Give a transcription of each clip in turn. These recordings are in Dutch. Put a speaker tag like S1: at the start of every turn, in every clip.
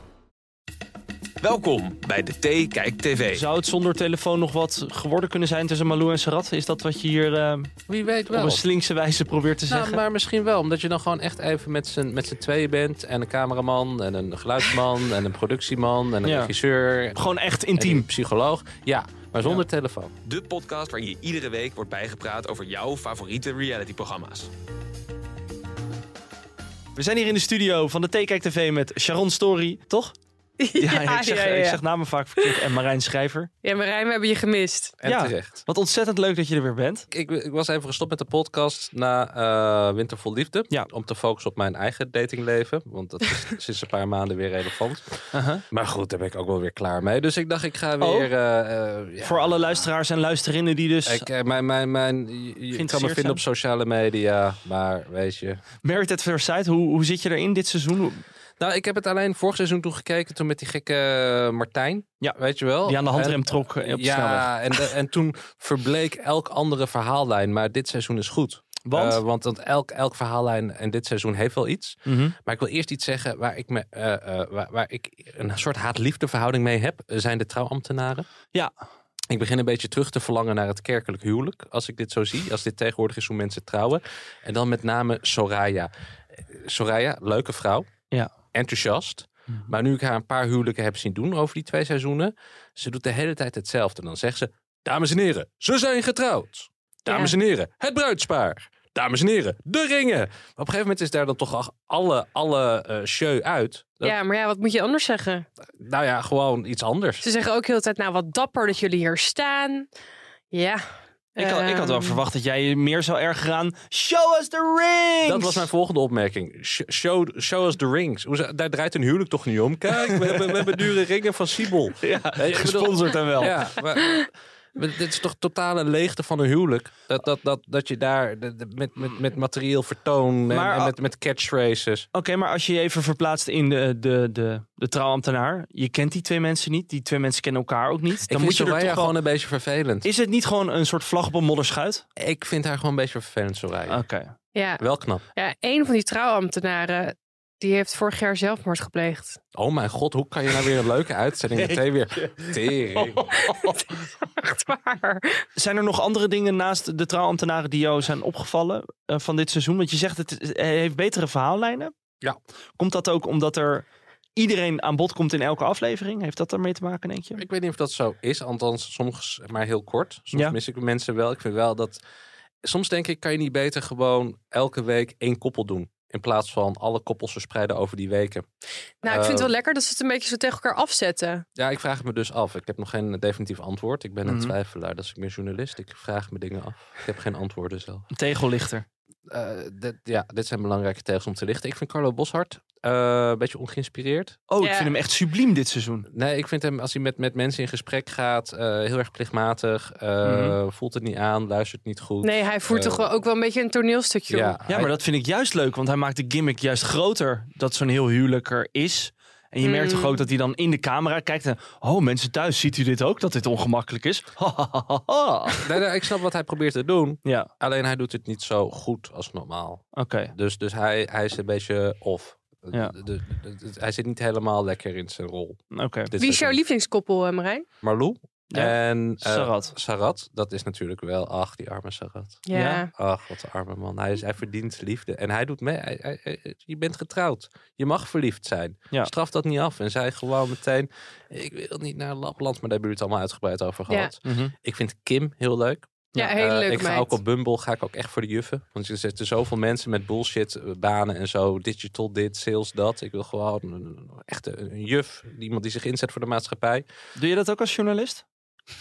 S1: Welkom bij de T Kijk TV.
S2: Zou het zonder telefoon nog wat geworden kunnen zijn tussen Malou en Sarat? Is dat wat je hier eh,
S3: Wie weet
S2: op
S4: Oh.
S3: wel.
S2: een slinkse wijze probeert te
S3: Nou,
S2: zeggen?
S3: maar misschien wel, omdat je dan gewoon echt even met z'n, met z'n tweeën bent. En een cameraman, en een geluidsman, en een productieman, en een
S2: Ja.
S3: regisseur. En
S2: Gewoon echt
S3: een
S2: intiem.
S3: psycholoog. Ja, maar zonder telefoon.
S1: De podcast waarin je iedere week wordt bijgepraat over jouw favoriete realityprogramma's.
S2: We zijn hier in de studio van de T-Kijk TV met Sharon Story, toch? Ja, ik, zeg,
S4: ja, ja.
S2: ik zeg namen vaak verkeerd. En Marijn Schrijver.
S4: Ja, Marijn, we hebben je gemist.
S3: En
S2: Ja.
S3: terecht.
S2: Wat ontzettend leuk dat je er weer bent.
S3: Ik, ik was even gestopt met de podcast na eh, Winter Vol Liefde.
S2: Ja.
S3: Om te focussen op mijn eigen datingleven. Want dat is sinds een paar maanden weer relevant.
S2: Uh-huh.
S3: Maar goed, daar ben ik ook wel weer klaar mee. Dus ik dacht, ik ga weer... eh, eh, ja,
S2: Oh. Voor alle luisteraars en luisterinnen die dus
S3: Ik, eh, mijn, mijn, mijn, je- je kan me
S2: Geïnteresseerd
S3: vinden op sociale media, maar weet je.
S2: Married at First Sight, hoe, hoe zit je erin dit seizoen?
S3: Nou, ik heb het alleen vorig seizoen toen gekeken, toen met die gekke eh, Martijn.
S2: Ja,
S3: weet je
S4: Oh.
S3: wel.
S2: Die aan de handrem
S3: En-
S2: trok eh, op de snelweg.
S3: Ja, en, en toen verbleek elk andere verhaallijn, maar dit seizoen is goed.
S2: Want?
S3: Eh, want want elk, elk verhaallijn en dit seizoen heeft wel iets.
S2: Mhm.
S3: Maar ik wil eerst iets zeggen waar ik, me, eh, eh, waar, waar ik een soort haat-liefde verhouding mee heb. eh, Zijn de trouwambtenaren.
S2: Ja.
S3: Ik begin een beetje terug te verlangen naar het kerkelijk huwelijk. Als ik dit zo zie. Als dit tegenwoordig is hoe mensen trouwen. En dan met name Soraya. Eh, Soraya, leuke vrouw.
S2: Ja. Mhm.
S3: Enthousiast. Maar nu ik haar een paar huwelijken heb zien doen over die twee seizoenen. Ze doet de hele tijd hetzelfde. Dan zegt ze, dames en heren, ze zijn getrouwd. Dames en heren, het bruidspaar. Dames en heren, de ringen. Maar op een gegeven moment is daar dan toch al alle, alle eh show uit. Dat-
S4: Ja, maar ja, wat moet je anders zeggen?
S3: Nou ja, gewoon iets anders.
S4: Ze zeggen ook heel de tijd, nou wat dapper dat jullie hier staan. Ja.
S2: Ik, had, ik had wel
S4: ehm,
S2: verwacht dat jij je meer zou ergeren aan Show us the rings!
S3: Dat was mijn volgende opmerking. Sh- Show, show us the rings. Hoe ze- Daar draait een huwelijk toch niet om. Kijk, we hebben, we hebben dure ringen van Siebel.
S2: Ja,
S3: ik bedoel-
S2: gesponsord en wel.
S3: Ja, maar, maar dit is toch totale leegte van een huwelijk. Dat, dat, dat, dat je daar de- de- met, met, met materieel vertoon en,
S2: Maar
S3: en
S2: al-
S3: met, met catchphrases.
S2: Oké, maar als je je even verplaatst in de, de, de, de trouwambtenaar. Je kent die twee mensen niet. Die twee mensen kennen elkaar ook niet. Dan
S3: ik
S2: moet
S3: vind
S2: je er
S3: Soraya
S2: toch
S3: gewoon
S2: gewoon...
S3: een beetje vervelend.
S2: Is het niet gewoon een soort vlag op een modderschuit?
S3: Ik vind haar gewoon een beetje vervelend, Soraya.
S2: Oké.
S4: Ja.
S3: Ah. Wel knap.
S4: ja, een van die trouwambtenaren, die heeft vorig jaar zelfmoord gepleegd.
S3: Oh mijn god, hoe kan je nou weer een leuke uitzending meteen weer...
S2: Oh.
S3: Tering.
S4: Echt waar.
S2: Zijn er nog andere dingen naast de trouwambtenaren die jou zijn opgevallen eh, van dit seizoen? Want je zegt het is- hij heeft betere verhaallijnen.
S3: Ja.
S2: Komt dat ook omdat er iedereen aan bod komt in elke aflevering? Heeft dat ermee te maken, denk je?
S3: Ik weet niet of dat zo is, althans soms maar heel kort. Soms
S2: Ja.
S3: mis ik mensen wel. Ik vind wel dat... Soms denk ik, kan je niet beter gewoon elke week één koppel doen. In plaats van alle koppels verspreiden over die weken.
S4: Nou, ik
S3: Eh,
S4: vind het wel lekker dat ze het een beetje zo tegen elkaar afzetten.
S3: Ja, ik vraag het me dus af. Ik heb nog geen definitief antwoord. Ik ben een
S2: Mhm.
S3: twijfelaar, dus ik ben journalist. Ik vraag me dingen af. Ik heb geen antwoorden zelf.
S2: Een tegellichter.
S3: Eh, dit, ja, dit zijn belangrijke tegels om te lichten. Ik vind Carlo Boshart eh, een beetje ongeïnspireerd.
S2: Oh, ik
S4: Ja.
S2: vind hem echt subliem dit seizoen.
S3: Nee, ik vind hem als hij met, met mensen in gesprek gaat eh, heel erg plichtmatig. eh,
S2: Mhm.
S3: Voelt het niet aan, luistert niet goed.
S4: Nee, hij voert
S3: Eh,
S4: toch wel ook wel een beetje een toneelstukje op.
S3: ja,
S2: Ja, maar dat vind ik juist leuk, want hij maakt de gimmick juist groter dat zo'n heel huwelijk er is. En je merkt
S4: Mm.
S3: Hmm.
S2: toch ook dat hij dan in de camera kijkt en... Oh, mensen thuis, ziet u dit ook, dat dit ongemakkelijk is?
S3: nee, nee, ik snap wat hij probeert te doen.
S2: ja, oké.
S3: Alleen hij doet het niet zo goed als normaal. Dus, dus hij, hij is een beetje off.
S2: Ja.
S3: De- de- de- de- hij zit niet helemaal lekker in zijn rol.
S2: Oké.
S3: Dit
S4: Wie is jouw
S3: seizoen.
S4: lievelingskoppel, eh, Marijn?
S3: Marlou
S2: Ja.
S3: en eh,
S2: Sarat.
S3: Sarat, dat is natuurlijk wel, ach, die arme Sarat.
S4: Ja.
S2: Ja.
S3: Ach, wat een arme man. Hij, is, hij verdient liefde. En hij doet mee. Hij- hij- hij- je bent getrouwd. Je mag verliefd zijn.
S2: Ja.
S3: Straf dat niet af. En zij gewoon meteen, ik wil niet naar Lapland. Maar daar hebben we het allemaal uitgebreid over
S4: Ja.
S3: gehad.
S2: Mhm.
S3: Ik vind Kim heel leuk.
S4: Ja,
S3: Eh,
S4: hele leuke
S3: Ik ga
S4: meid.
S3: ook op Bumble ga ik ook echt voor de juffen. Want er zitten zoveel mensen met bullshit eh, banen en zo. Digital dit, sales dat. Ik wil gewoon een- een- echt een, een juf. Iemand die zich inzet voor de maatschappij.
S2: Doe je dat ook als journalist?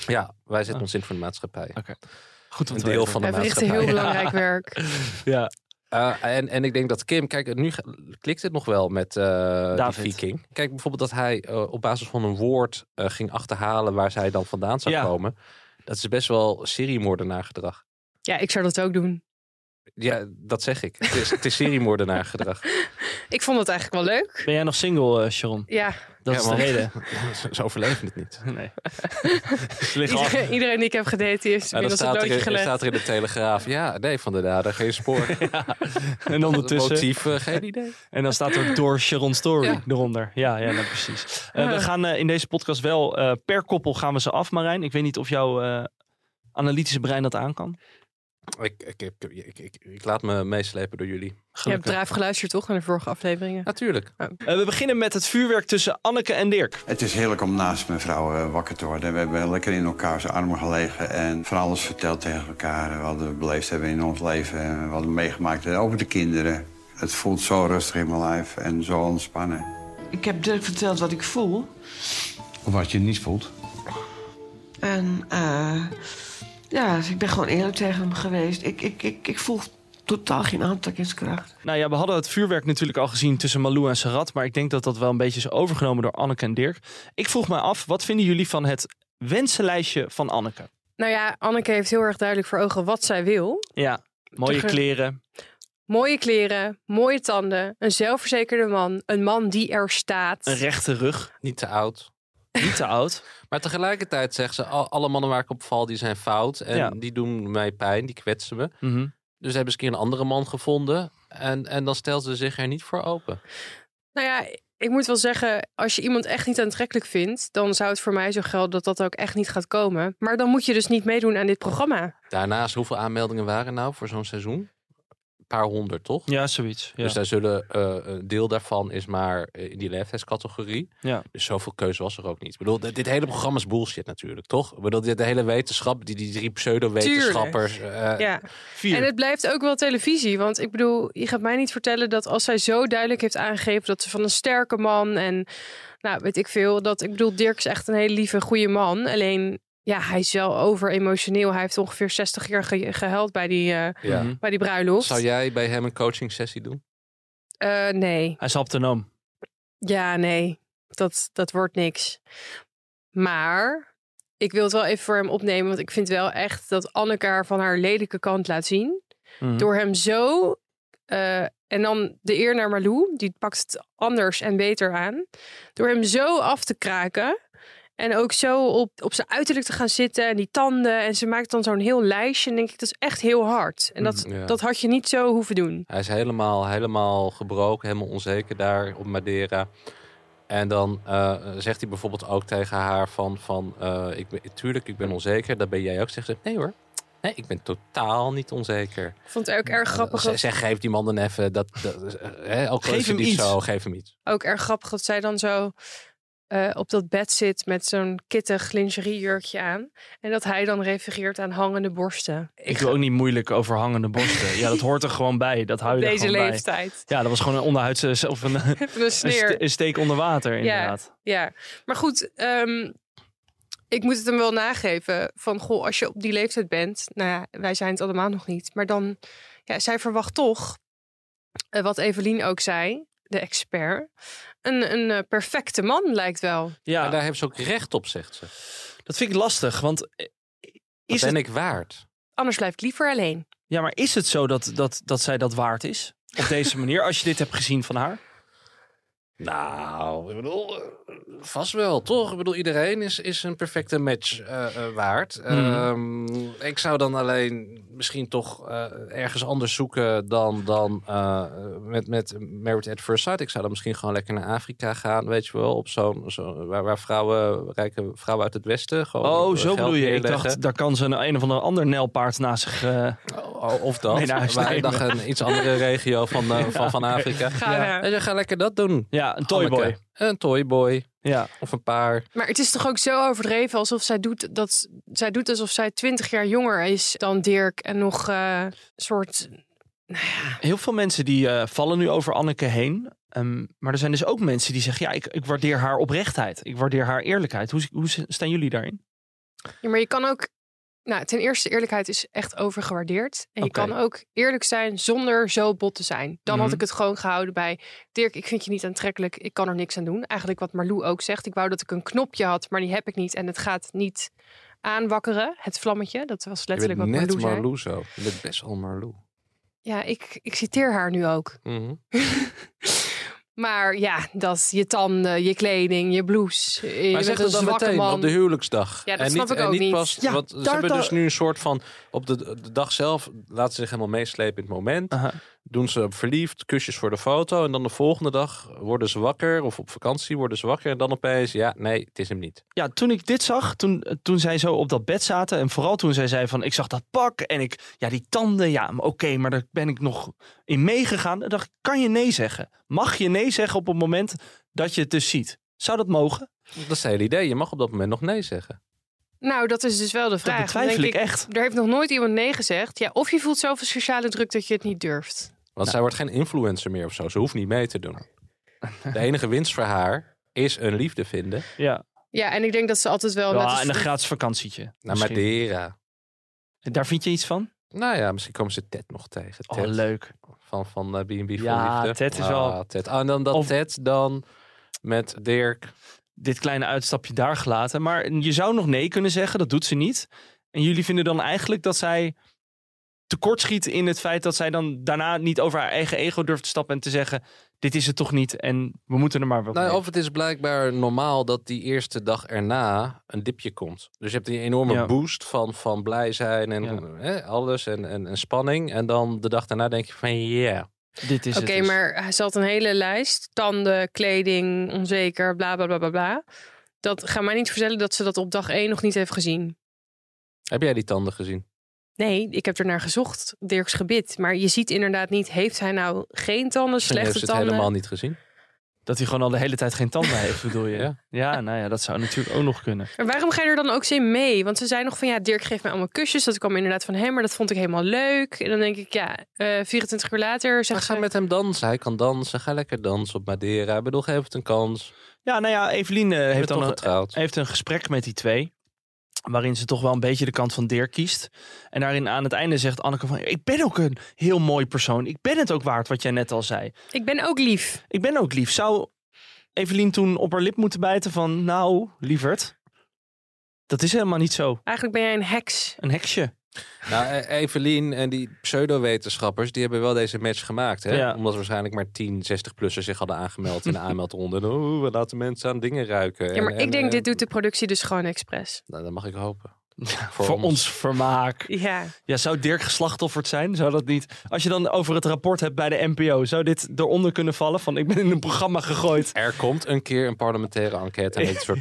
S3: Ja, wij zetten
S2: Oh.
S3: ons in voor de maatschappij.
S2: Goed om
S3: Een
S2: te
S3: deel
S2: weten.
S3: van de
S4: Hij verricht
S3: maatschappij.
S4: heel belangrijk werk.
S2: Ja.
S3: Eh, en, en ik denk dat Kim, kijk, nu ge- klikt het nog wel met eh die
S2: David.
S3: Viking. Kijk bijvoorbeeld dat hij eh, op basis van een woord eh, ging achterhalen waar zij dan vandaan zou
S2: Ja.
S3: komen. Dat is best wel seriemoordenaar gedrag.
S4: Ja, ik zou dat ook doen.
S3: Ja, dat zeg ik. Het is, het is seriemoordenaar gedrag.
S4: Ik vond het eigenlijk wel leuk.
S2: Ben jij nog single, eh, Sharon?
S4: Ja,
S2: Dat
S3: Ja,
S2: is de
S3: want-
S2: reden.
S3: Ze, ze overleven het niet.
S2: Nee. Ze liggen al-
S4: iedereen, iedereen die ik heb gedate, die heeft
S3: En dan
S4: inmiddels een
S3: staat er,
S4: doodje
S3: in- dan
S4: gelegd.
S3: staat er in de Telegraaf. Ja, nee, van de dader geen spoor.
S2: En ondertussen.
S3: Motief, eh, geen idee.
S2: En dan staat er door Sharon Story
S3: Ja.
S2: eronder. Ja, ja nou, precies. Eh,
S4: Ja.
S2: We gaan eh, in deze podcast wel eh, per koppel gaan we ze af, Marijn. Ik weet niet of jouw eh, analytische brein dat aan kan.
S3: Ik, ik, ik, ik, ik, ik laat me meeslepen door jullie.
S4: Je hebt draaf geluisterd toch, naar de vorige afleveringen?
S3: Natuurlijk.
S2: Eh, we beginnen met het vuurwerk tussen Anneke en Dirk.
S5: Het is heerlijk om naast mijn vrouw eh, wakker te worden. We hebben lekker in elkaars armen gelegen en van alles verteld tegen elkaar. eh, Wat we beleefd hebben in ons leven, en wat we meegemaakt hebben over de kinderen. Het voelt zo rustig in mijn lijf en zo ontspannen.
S6: Ik heb Dirk verteld wat ik voel.
S7: Wat je niet voelt.
S6: En eh, ja, dus ik ben gewoon eerlijk tegen hem geweest. Ik, ik, ik, ik voel totaal geen aantrekkingskracht.
S2: Nou ja, we hadden het vuurwerk natuurlijk al gezien tussen Malou en Sarat. Maar ik denk dat dat wel een beetje is overgenomen door Anneke en Dirk. Ik vroeg mij af, wat vinden jullie van het wensenlijstje van Anneke?
S4: Nou ja, Anneke heeft heel erg duidelijk voor ogen wat zij wil.
S2: Ja, mooie
S4: Toch, eh,
S2: kleren.
S4: Mooie kleren, mooie tanden, een zelfverzekerde man, een man die er staat.
S2: Een rechte rug.
S3: Niet te oud.
S2: Niet te oud.
S3: Maar tegelijkertijd zegt ze, al- alle mannen waar ik op val, die zijn fout. En
S2: Ja.
S3: die doen mij pijn, die kwetsen me.
S2: Mhm.
S3: Dus hebben ze een keer een andere man gevonden. En, en dan stelt ze zich er niet voor open.
S4: Nou ja, ik moet wel zeggen, als je iemand echt niet aantrekkelijk vindt, dan zou het voor mij zo gelden dat dat ook echt niet gaat komen. Maar dan moet je dus niet meedoen aan dit programma.
S3: Daarnaast, hoeveel aanmeldingen waren nou voor zo'n seizoen? Een paar honderd, toch?
S2: Ja, zoiets. Ja.
S3: Dus daar zullen, eh, een deel daarvan is maar eh, in die leeftijdscategorie.
S2: Ja.
S3: Dus zoveel keuze was er ook niet. Ik bedoel, dit, dit hele programma is bullshit natuurlijk, toch? Ik bedoel, dit- de hele wetenschap, die, die drie pseudo-wetenschappers. eh,
S4: Ja.
S2: Vier.
S4: En het blijft ook wel televisie. Want ik bedoel, je gaat mij niet vertellen dat als zij zo duidelijk heeft aangegeven dat ze van een sterke man en nou weet ik veel. Dat ik bedoel, Dirk is echt een hele lieve, goede man. Alleen ja, hij is wel over emotioneel. Hij heeft ongeveer 60 jaar ge- gehuild bij die, eh,
S3: ja.
S2: Mhm.
S4: bij die bruiloft.
S3: Zou jij bij hem een coaching sessie doen?
S4: Eh, nee.
S2: Hij is autonoom.
S4: Ja, nee, dat, dat wordt niks. Maar ik wil het wel even voor hem opnemen, want ik vind wel echt dat Anneke haar van haar lelijke kant laat zien.
S2: Mhm.
S4: Door hem zo. eh, en dan de eer naar Malou, die pakt het anders en beter aan. Door hem zo af te kraken. En ook zo op, op zijn uiterlijk te gaan zitten en die tanden. En ze maakt dan zo'n heel lijstje. En denk ik, dat is echt heel hard. En dat,
S3: Mhm, ja.
S4: dat had je niet zo hoeven doen.
S3: Hij is helemaal, helemaal gebroken, helemaal onzeker daar op Madeira. En dan eh, zegt hij bijvoorbeeld ook tegen haar van... van eh, ik ben, tuurlijk, ik ben onzeker. Dat ben jij ook. Zegt ze, nee hoor. Nee, ik ben totaal niet onzeker.
S4: Ik vond het ook erg grappig.
S3: Zeg,
S4: dat-
S3: zeg, geef die man dan even dat... dat eh, hè, ook al
S2: Geef
S3: is het
S2: hem
S3: niet
S2: iets.
S3: Zo, geef hem iets.
S4: ook erg grappig dat zij dan zo eh, op dat bed zit met zo'n kittig lingeriejurkje aan. En dat hij dan refereert aan hangende borsten.
S2: Ik wil ook niet moeilijk over hangende borsten. Ja, dat hoort er gewoon bij. Dat hou je er
S4: deze
S2: gewoon bij.
S4: leeftijd.
S2: Ja, dat was gewoon een onderhuidse of een, een,
S4: Een sneer.
S2: ste- een steek onder water inderdaad.
S4: Ja, maar goed, ehm, ik moet het hem wel nageven. Van goh, als je op die leeftijd bent, nou ja, wij zijn het allemaal nog niet. Maar dan, ja, zij verwacht toch, eh, wat Evelien ook zei, de expert, een, een eh, perfecte man lijkt wel.
S2: Ja,
S3: En daar heeft ze ook recht op, zegt ze. Dat
S2: dat vind ik lastig, want eh, is
S3: ben
S2: het,
S3: ik waard.
S4: Anders blijf ik liever alleen.
S2: ja, maar is het zo dat, dat, dat zij dat waard is? Op deze manier, als je dit hebt gezien van haar?
S3: Nou, ik bedoel, eh, vast wel, toch? Ik bedoel, iedereen is, is een perfecte match eh, eh, waard.
S2: Mhm.
S3: Ehm, ik zou dan alleen misschien toch eh, ergens anders zoeken dan, dan eh, met, met Married at First Sight. Ik zou dan misschien gewoon lekker naar Afrika gaan, weet je wel. Op zo'n, zo, waar, waar vrouwen, rijke vrouwen uit het westen gewoon
S2: Oh,
S3: eh,
S2: zo
S3: geld
S2: bedoel je. Ik
S3: neerleggen.
S2: dacht, daar kan ze een, een of ander ander nelpaard naast zich... eh,
S3: Oh, Of dat,
S2: Nee, naar huis
S3: maar ik
S2: nemen.
S3: dacht een iets andere regio van, eh, van, van Afrika.
S4: Ga naar-
S3: En je gaat lekker dat doen.
S2: ja, een toyboy.
S3: Hanneke. Een toyboy.
S2: Ja.
S3: Of een paar.
S4: Maar het is toch ook zo overdreven alsof zij doet, dat, zij doet alsof zij twintig jaar jonger is dan Dirk. En nog eh, een soort.
S2: Heel veel mensen die eh, vallen nu over Anneke heen. Ehm, maar er zijn dus ook mensen die zeggen... ja, ik, ik waardeer haar oprechtheid. Ik waardeer haar eerlijkheid. Hoe, hoe staan jullie daarin?
S4: Ja, maar je kan ook. Nou, ten eerste, eerlijkheid is echt overgewaardeerd. En je
S2: Oké.
S4: kan ook eerlijk zijn zonder zo bot te zijn. Dan had
S2: Mhm.
S4: ik het gewoon gehouden bij. Dirk, ik vind je niet aantrekkelijk. Ik kan er niks aan doen. Eigenlijk wat Marlou ook zegt. Ik wou dat ik een knopje had, maar die heb ik niet. En het gaat niet aanwakkeren. Het vlammetje. Dat was
S3: Je
S4: letterlijk
S3: bent
S4: wat
S3: net
S4: Marlou zei.
S3: Marlou zo. Je bent best wel Marlou.
S4: Ja, ik, ik citeer haar nu ook.
S3: Mhm.
S4: Maar ja, dat je tanden, je kleding, je blouse. eh, Je
S3: Maar zeg
S4: bent
S3: dat
S4: een
S3: dan
S4: zwakke
S3: meteen
S4: man.
S3: op de huwelijksdag.
S4: Ja, dat
S3: en
S4: snap
S3: niet,
S4: ik
S3: en
S4: ook
S3: niet.
S4: niet.
S3: Pas,
S2: Ja,
S3: want ze
S2: daar-
S3: hebben
S2: daar-
S3: dus nu een soort van... Op de, de dag zelf laten ze zich helemaal meeslepen in het moment.
S2: Aha.
S3: Doen ze verliefd, kusjes voor de foto. En dan de volgende dag worden ze wakker. Of op vakantie worden ze wakker. En dan opeens, ja, nee, het is hem niet.
S2: Ja, toen ik dit zag, toen, toen zij zo op dat bed zaten. En vooral toen zij zei van, ik zag dat pak en ik, ja, die tanden. Ja, maar oké, maar daar ben ik nog in meegegaan. Dan dacht ik, kan je nee zeggen? Mag je nee zeggen op het moment dat je het dus ziet? Zou dat mogen?
S3: Dat is het hele idee. Je mag op dat moment nog nee zeggen.
S4: Nou, dat is dus wel de vraag.
S2: dat
S4: Dan
S2: betwijfel ik,
S4: denk ik,
S2: echt.
S4: Er heeft nog nooit iemand nee gezegd. Ja, of je voelt zoveel sociale druk dat je het niet durft.
S3: Want zij wordt geen influencer meer of zo. Ze hoeft niet mee te doen. De enige winst voor haar is een liefde vinden.
S2: Ja,
S4: Ja, en ik denk Oh, dat Nou, ze altijd wel... net
S2: ja
S4: als-
S2: en een gratis vakantietje.
S3: Naar
S2: misschien.
S3: Madeira.
S2: Daar vind je iets van?
S3: Nou ja, misschien komen ze Ted nog tegen.
S2: Oh,
S3: Ted.
S2: leuk.
S3: Van, van eh, B&B voor
S2: Ja,
S3: Liefde.
S2: Ted is
S3: Ah,
S2: wel-
S3: Ted. Ah, en dan dat
S2: Of-
S3: Ted dan met Dirk.
S2: Dit kleine uitstapje daar gelaten. Maar je zou nog nee kunnen zeggen, dat doet ze niet. En jullie vinden dan eigenlijk dat zij tekortschiet in het feit dat zij dan daarna niet over haar eigen ego durft te stappen en te zeggen: Dit is het toch niet en we moeten er maar wel.
S3: Nou,
S2: mee.
S3: of het is blijkbaar normaal dat die eerste dag erna een dipje komt. Dus je hebt die enorme
S2: Ja.
S3: boost van, van blij zijn en
S2: Ja.
S3: eh, alles en, en, en spanning. En dan de dag daarna denk je van ja.
S2: Dit is
S4: Oké,
S2: het. dus.
S4: maar ze had een hele lijst. Tanden, kleding, onzeker, bla bla bla bla bla. Dat ga mij niet vertellen dat ze dat op dag één nog niet heeft gezien.
S3: Heb jij die tanden gezien?
S4: Nee, ik heb ernaar gezocht, Dirks gebit. Maar je ziet inderdaad niet, heeft hij nou geen tanden,
S3: Misschien
S4: slechte
S3: heeft ze het
S4: tanden?
S3: helemaal niet gezien.
S2: Dat hij gewoon al de hele tijd geen tanden heeft, bedoel je?
S3: Ja.
S2: Ja. nou ja, dat zou natuurlijk ook nog kunnen.
S4: En waarom ga je er dan ook zo in mee? Want ze zei nog van ja, Dirk geeft mij allemaal kusjes. Dat kwam inderdaad van hem, maar dat vond ik helemaal leuk. En dan denk ik, ja, eh 24 uur later
S3: Maar
S4: zegt
S3: ga
S4: ze...
S3: met hem dansen. Hij kan dansen. Ga lekker dansen op Madeira. Ik bedoel, geef het een kans.
S2: Ja, nou ja, Evelien eh,
S3: Heeft
S2: heeft
S3: dan
S2: dan een,
S3: getrouwd.
S2: heeft een gesprek met die twee. Waarin ze toch wel een beetje de kant van Dirk kiest. En daarin aan het einde zegt Anneke van... Ik ben ook een heel mooi persoon. Ik ben het ook waard, wat jij net al zei.
S4: Ik ben ook lief.
S2: Ik ben ook lief. Zou Evelien toen op haar lip moeten bijten van... Nou, lieverd, dat is helemaal niet zo.
S4: Eigenlijk ben jij een heks.
S2: Een heksje.
S3: Nou, E- Evelien en die pseudowetenschappers, die hebben wel deze match gemaakt. Hè?
S2: Ja.
S3: Omdat waarschijnlijk maar 10, 60-plussen zich hadden aangemeld in de aanmeldronde. En, Oeh, we laten mensen aan dingen ruiken.
S4: Ja, maar
S3: En-
S4: ik
S3: en-
S4: denk,
S3: en-
S4: dit doet de productie dus gewoon expres.
S3: Nou, dat mag ik hopen.
S2: Voor, ons. vermaak.
S4: Ja,
S2: Ja, zou Dirk geslachtofferd zijn? Zou dat niet... Als je dan over het rapport hebt bij de NPO... Zou dit eronder kunnen vallen van... Ik ben in een programma gegooid.
S3: Er komt een keer een parlementaire enquête en dit soort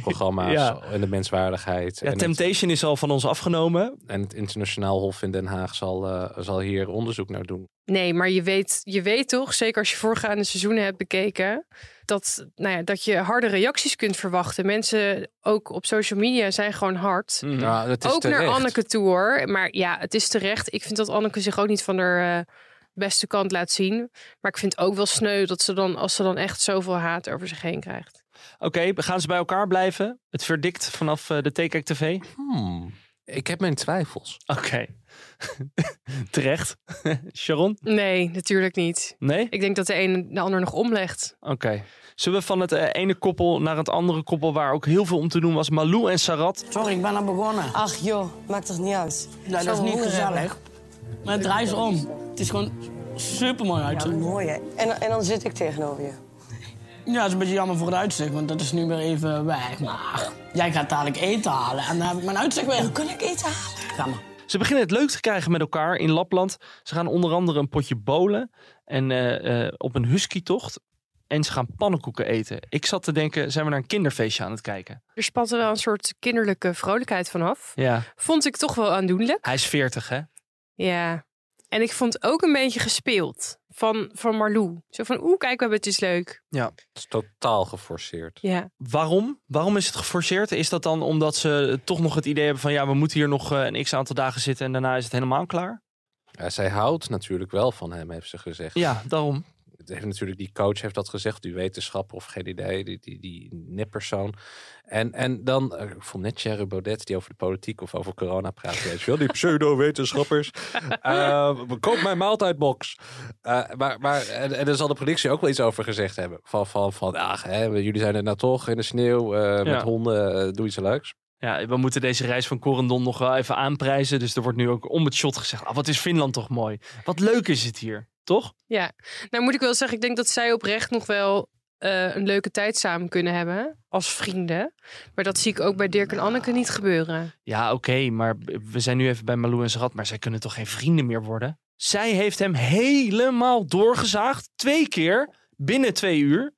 S3: programma's.
S2: Ja.
S3: En de menswaardigheid.
S2: Ja,
S3: en, het,
S2: Temptation is al van ons afgenomen.
S3: en het internationaal hof in Den Haag zal, eh, zal hier onderzoek naar doen.
S4: nee, maar je weet, je weet toch, zeker als je voorgaande seizoenen hebt bekeken... Dat, nou ja, dat je harde reacties kunt verwachten. Mensen, ook op social media, zijn gewoon hard.
S2: Mhm.
S3: Nou, het is
S4: ook naar
S3: terecht.
S4: Anneke toe hoor. Maar ja, het is terecht. Ik vind dat Anneke zich ook niet van haar eh, beste kant laat zien. Maar ik vind het ook wel sneu dat ze dan, als ze dan echt zoveel haat over zich heen krijgt.
S2: Oké, we gaan ze bij elkaar blijven? Het verdikt vanaf eh, de T-Kijk TV?
S3: Hmm. Ik heb mijn twijfels.
S2: Oké. Terecht. Sharon?
S4: Nee, natuurlijk niet.
S2: Nee?
S4: Ik denk dat de een de ander nog omlegt.
S2: Oké. Zullen we van het eh, ene koppel naar het andere koppel... waar ook heel veel om te doen was, Malou en Sarat?
S8: Sorry, ik ben al begonnen.
S9: Ach joh, maakt toch niet uit.
S8: Nou, dat is niet gezellig. Maar draai ze om. Het is gewoon super mooi uitzicht.
S9: Mooi hè. En, en dan zit ik tegenover je.
S8: Ja, het is een beetje jammer voor het uitzicht, want dat is nu weer even weg. Maar jij gaat dadelijk eten halen en dan heb ik mijn uitzicht weer. Hoe kan ik eten halen? Ga maar.
S2: Ze beginnen het leuk te krijgen met elkaar in Lapland. Ze gaan onder andere een potje bowlen en eh, eh, op een huskytocht. En ze gaan pannenkoeken eten. Ik zat te denken, zijn we naar een kinderfeestje aan het kijken?
S4: Er spatte wel een soort kinderlijke vrolijkheid vanaf.
S2: Ja.
S4: Vond ik toch wel aandoenlijk.
S2: Hij is 40, hè?
S4: Ja. En ik vond ook een beetje gespeeld van, van Marlou. Zo van, oeh, kijk, we hebben het is leuk.
S3: Het is totaal geforceerd.
S4: Ja.
S2: Waarom? Waarom is het geforceerd? Is dat dan omdat ze toch nog het idee hebben van... ja, we moeten hier nog eh, een x-aantal dagen zitten... en daarna is het helemaal klaar?
S3: Ja, zij houdt natuurlijk wel van hem, heeft ze gezegd.
S2: Ja, daarom.
S3: Het heeft natuurlijk die coach heeft dat gezegd, die wetenschapper of geen idee, die, die, die neppersoon. En, en dan, eh, ik vond net Thierry Baudet die over de politiek of over corona praat, weet je wel, die pseudo-wetenschappers. Eh, koop mijn maaltijdbox. Eh, maar maar en, en daar zal de productie ook wel iets over gezegd hebben. Van, van, van ach, hè, jullie zijn er nou toch in de sneeuw eh,
S2: Ja.
S3: met honden, eh, doe iets leuks.
S2: Ja, we moeten deze reis van Corendon nog wel even aanprijzen. Dus er wordt nu ook om het shot gezegd. Ah, wat is Finland toch mooi. Wat leuk is het hier, toch?
S4: Ja, nou moet ik wel zeggen, ik denk dat zij oprecht nog wel eh, een leuke tijd samen kunnen hebben als vrienden. Maar dat zie ik ook bij Dirk en
S2: Nou.
S4: Anneke niet gebeuren.
S2: Ja, oké, maar we zijn nu even bij Malou en Sarat. Maar zij kunnen toch geen vrienden meer worden? Zij heeft hem helemaal doorgezaagd. Twee keer binnen twee uur.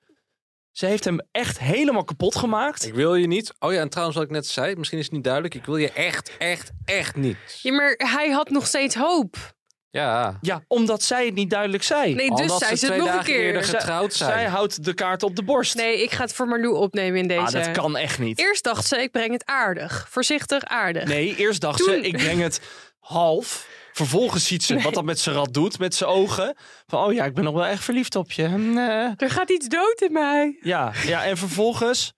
S2: Zij heeft hem echt helemaal kapot gemaakt.
S3: Ik wil je niet. Oh ja, en trouwens wat ik net zei, misschien is het niet duidelijk. Ik wil je echt, echt, echt niet.
S4: Ja, maar hij had nog steeds hoop.
S3: Ja.
S2: Ja, omdat zij het niet duidelijk zei.
S4: Nee, dus
S3: Omdat
S4: zij
S3: ze
S4: ze
S3: twee
S4: nog een
S3: dagen eerder
S4: keer.
S3: ge- getrouwd zijn.
S2: Zij houdt de kaart op de borst.
S4: Nee, ik ga het voor Marlou opnemen in deze.
S2: ah, dat kan echt niet.
S4: Eerst dacht ze, ik breng het aardig. Voorzichtig, aardig.
S2: Nee, eerst dacht ze,
S4: Toen-
S2: ik breng het half. Vervolgens ziet ze wat dat met zijn rat doet, met zijn ogen. Van, oh ja, ik ben nog wel echt verliefd op je. Nee.
S4: Er gaat iets dood in mij.
S2: Ja, ja, en vervolgens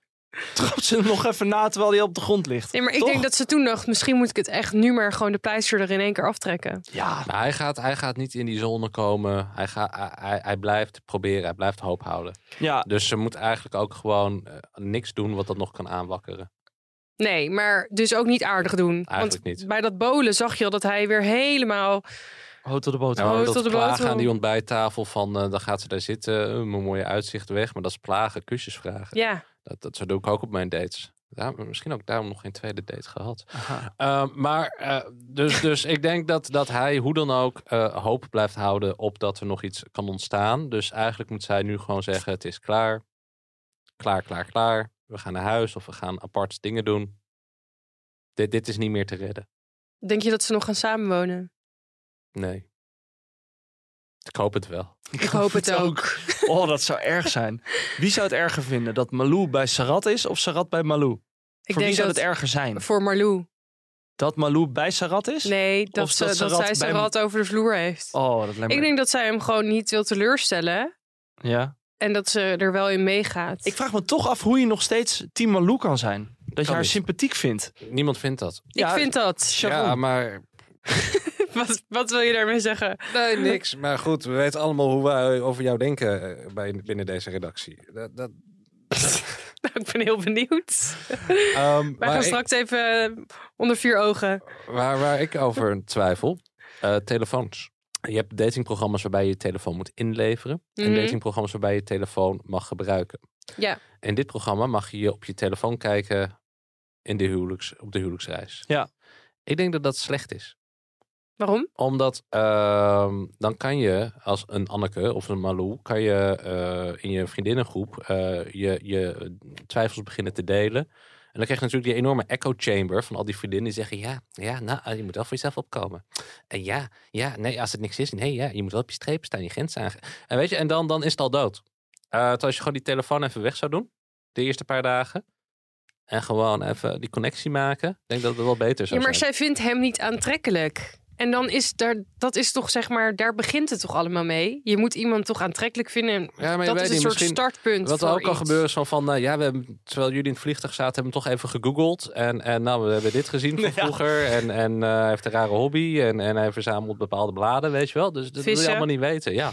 S2: trapt ze hem nog even na terwijl hij op de grond ligt.
S4: Nee, maar ik
S2: Toch?
S4: denk dat ze toen dacht, misschien moet ik het echt nu maar gewoon de pleister er in één keer aftrekken.
S2: Ja,
S3: Maar hij gaat, hij gaat niet in die zone komen. Hij, gaat, hij- hij, hij blijft proberen, hij blijft hoop houden.
S2: ja,
S3: Dus ze moet eigenlijk ook gewoon eh, niks doen wat dat nog kan aanwakkeren.
S4: Nee, maar dus ook niet aardig doen.
S3: Eigenlijk
S4: Want
S3: niet.
S4: bij dat bolen zag je al dat hij weer helemaal...
S2: houd tot de boot.
S3: Ja, maar
S4: Oh,
S3: dat
S4: tot de
S3: plagen
S4: boterham.
S3: aan die ontbijttafel van eh, dan gaat ze daar zitten, eh, mijn mooie uitzicht weg. Maar dat is plagen, kusjes vragen.
S4: Ja,
S3: Dat, dat zo doe ik ook op mijn dates. Daar, misschien ook daarom nog geen tweede date gehad.
S2: Aha.
S3: Eh, maar eh, dus, dus ik denk dat, dat hij hoe dan ook eh, hoop blijft houden op dat er nog iets kan ontstaan. Dus eigenlijk moet zij nu gewoon zeggen: het is klaar. Klaar, klaar, klaar. We gaan naar huis of we gaan apart dingen doen. Dit, dit is niet meer te redden.
S4: denk je dat ze nog gaan samenwonen?
S3: Nee. Ik hoop het wel.
S4: Ik, hoop het ook.
S2: Oh, dat zou erg zijn. Wie zou het erger vinden? Dat Malou bij Sarat is of Sarat bij Malou?
S4: Ik
S2: Voor
S4: denk
S2: wie zou
S4: dat
S2: het erger zijn?
S4: Voor Marlou.
S2: Dat Malou bij Sarat is?
S4: Nee, dat,
S2: Of
S4: ze,
S2: dat
S4: dat,
S2: ze rat
S4: zij zijn
S2: bij-
S4: rat over de vloer heeft.
S2: Oh, dat lijkt me...
S4: Ik denk dat zij hem gewoon niet wil teleurstellen.
S2: ja.
S4: En dat ze er wel in meegaat.
S2: ik vraag me toch af hoe je nog steeds Team Malou kan dus. zijn. Dat je haar
S3: niet.
S2: sympathiek vindt.
S3: Niemand vindt dat.
S4: Ik vind dat.
S3: Ja, maar.
S4: Wat, wat wil je daarmee zeggen?
S3: Nee, niks. Maar goed, we weten allemaal hoe wij over jou denken eh, bij, binnen deze redactie. Dat, dat,
S4: Nou, ik ben heel benieuwd.
S3: ehm,
S4: Wij
S3: waar
S4: gaan
S3: ik-
S4: straks even eh, onder vier ogen.
S3: Waar, waar ik over twijfel, eh, telefoons. Je hebt datingprogramma's waarbij je je telefoon moet inleveren. En
S4: Mhm.
S3: datingprogramma's waarbij je je telefoon mag gebruiken.
S4: Ja.
S3: In dit programma mag je op je telefoon kijken in de huwelijks, op de huwelijksreis.
S2: Ja.
S3: Ik denk dat dat slecht is.
S4: Waarom?
S3: Omdat ehm, dan kan je als een Anneke of een Malou... kan je eh, in je vriendinnengroep eh, je, je twijfels beginnen te delen... En dan krijg je natuurlijk die enorme echo chamber van al die vriendinnen die zeggen: Ja, ja, nou, je moet wel voor jezelf opkomen. En ja, ja, nee, als het niks is, nee, ja, je moet wel op je streep staan, je grens aange. En weet je, en dan, dan is het al dood. Eh, terwijl als je gewoon die telefoon even weg zou doen, de eerste paar dagen, en gewoon even die connectie maken, ik denk dat het wel beter
S4: Ja,
S3: zou
S4: maar
S3: zijn.
S4: zij vindt hem niet aantrekkelijk. En dan is daar, dat is toch zeg maar, daar begint het toch allemaal mee? Je moet iemand toch aantrekkelijk vinden.
S3: Ja, maar je
S4: dat
S3: weet
S4: is
S3: niet,
S4: een soort
S3: misschien-
S4: startpunt.
S3: Wat er
S4: voor
S3: ook kan
S4: iets.
S3: gebeuren is van, van nou ja, we hebben, terwijl jullie in het vliegtuig zaten, hebben we toch even gegoogeld. En, en nou, we hebben dit gezien van
S2: Ja.
S3: vroeger. En, en eh, hij heeft een rare hobby. En, en hij verzamelt bepaalde bladen, weet je wel. Dus dat wil je
S4: Vissen.
S3: allemaal niet weten, ja.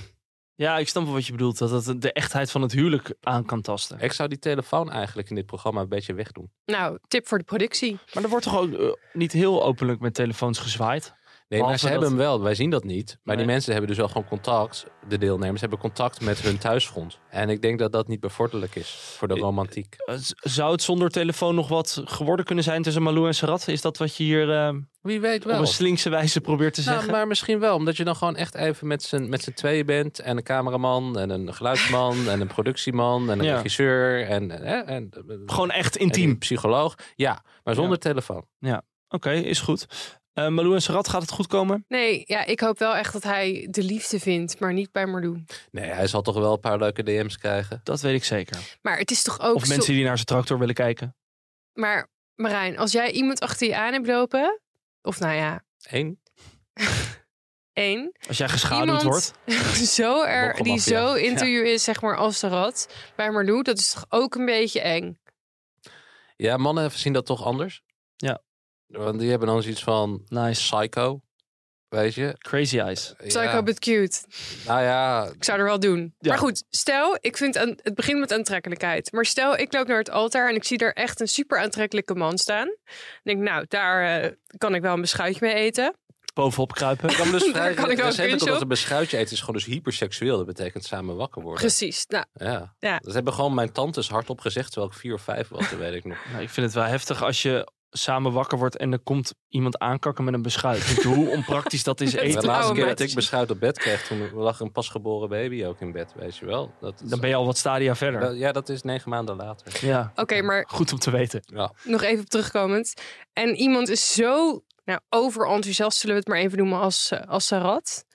S2: Ja, ik snap wel wat je bedoelt. Dat het de echtheid van het huwelijk aan kan tasten.
S3: Ik zou die telefoon eigenlijk in dit programma een beetje wegdoen.
S4: Nou, tip voor de productie.
S2: Maar er wordt toch ook eh, niet heel openlijk met telefoons gezwaaid?
S3: Nee, maar
S2: Behalve
S3: ze hebben
S2: dat-
S3: hem wel. Wij zien dat niet. Maar die
S2: Nee.
S3: mensen hebben dus wel gewoon contact. De deelnemers hebben contact met hun thuisgrond. En ik denk dat dat niet bevorderlijk is voor de romantiek.
S2: Eh, z- Zou het zonder telefoon nog wat geworden kunnen zijn tussen Malou en Sarat? Is dat wat je hier eh,
S3: Wie weet
S2: op een slinkse wijze probeert te
S3: Nou,
S2: zeggen?
S3: maar misschien wel. Omdat je dan gewoon echt even met z'n, met z'n tweeën bent. En een cameraman en een geluidsman en een productieman en een
S2: Ja.
S3: regisseur. En, en, en, en
S2: Gewoon echt
S3: een
S2: intiem.
S3: psycholoog. Ja, maar zonder
S2: Ja.
S3: telefoon.
S2: Oké, is goed. Eh, Malou en Sarat, gaat het goed komen?
S4: Nee, ja, ik hoop wel echt dat hij de liefde vindt, maar niet bij Marlou.
S3: Nee, hij zal toch wel een paar leuke DM's krijgen.
S2: Dat weet ik zeker.
S4: Maar het is toch ook
S2: Of
S4: zo-
S2: mensen die naar zijn tractor willen kijken.
S4: Maar Marijn, als jij iemand achter je aan hebt lopen, of nou ja,
S3: Eén.
S4: één,
S2: Als jij geschaduwd
S4: Iemand-
S2: wordt.
S4: zo er, die
S3: Mokkelmafia.
S4: zo interview is, zeg maar, als de rat bij Marlou, dat is toch ook een beetje eng.
S3: Ja, mannen zien dat toch anders.
S2: Ja.
S3: Want die hebben dan zoiets van
S2: Nice.
S3: psycho. Weet je?
S2: Crazy Eyes.
S4: Psycho
S3: Ja.
S4: but cute.
S3: Nou ja,
S4: Ik zou er wel doen.
S2: Ja.
S4: Maar goed, stel, ik vind aan- het begint met aantrekkelijkheid. Maar stel, ik loop naar het altaar en ik zie daar echt een super aantrekkelijke man staan. En ik denk, nou, daar eh, kan ik wel een beschuitje mee eten.
S2: Bovenop kruipen.
S3: ik kan me dus vrij
S4: kan ik wel een
S3: recentelijk
S4: kunstje
S3: omdat
S4: op.
S3: een beschuitje eten is gewoon dus hyperseksueel. Dat betekent samen wakker worden.
S4: Precies. Nou,
S3: Ja.
S4: Ja.
S3: Dat hebben gewoon mijn tantes hardop gezegd, terwijl ik vier of vijf was, dat weet ik nog.
S2: Nou, ik vind het wel heftig als je samen wakker wordt en er komt iemand aankakken met een beschuit. Weet je hoe onpraktisch dat is
S3: De
S4: Echt
S2: eten.
S4: een
S3: laatste
S4: oude
S3: keer dat
S4: meid.
S3: ik beschuit op bed kreeg, toen lag een pasgeboren baby ook in bed, weet je wel. Dat is-
S2: Dan ben je al wat stadia verder.
S3: dat- ja, dat is negen maanden later.
S2: Ja,
S4: oké, maar
S2: goed om te weten.
S3: Ja.
S4: nog even op terugkomend. En iemand is zo nou, overenthousiast, zullen we het maar even noemen, als, eh, als Sarat.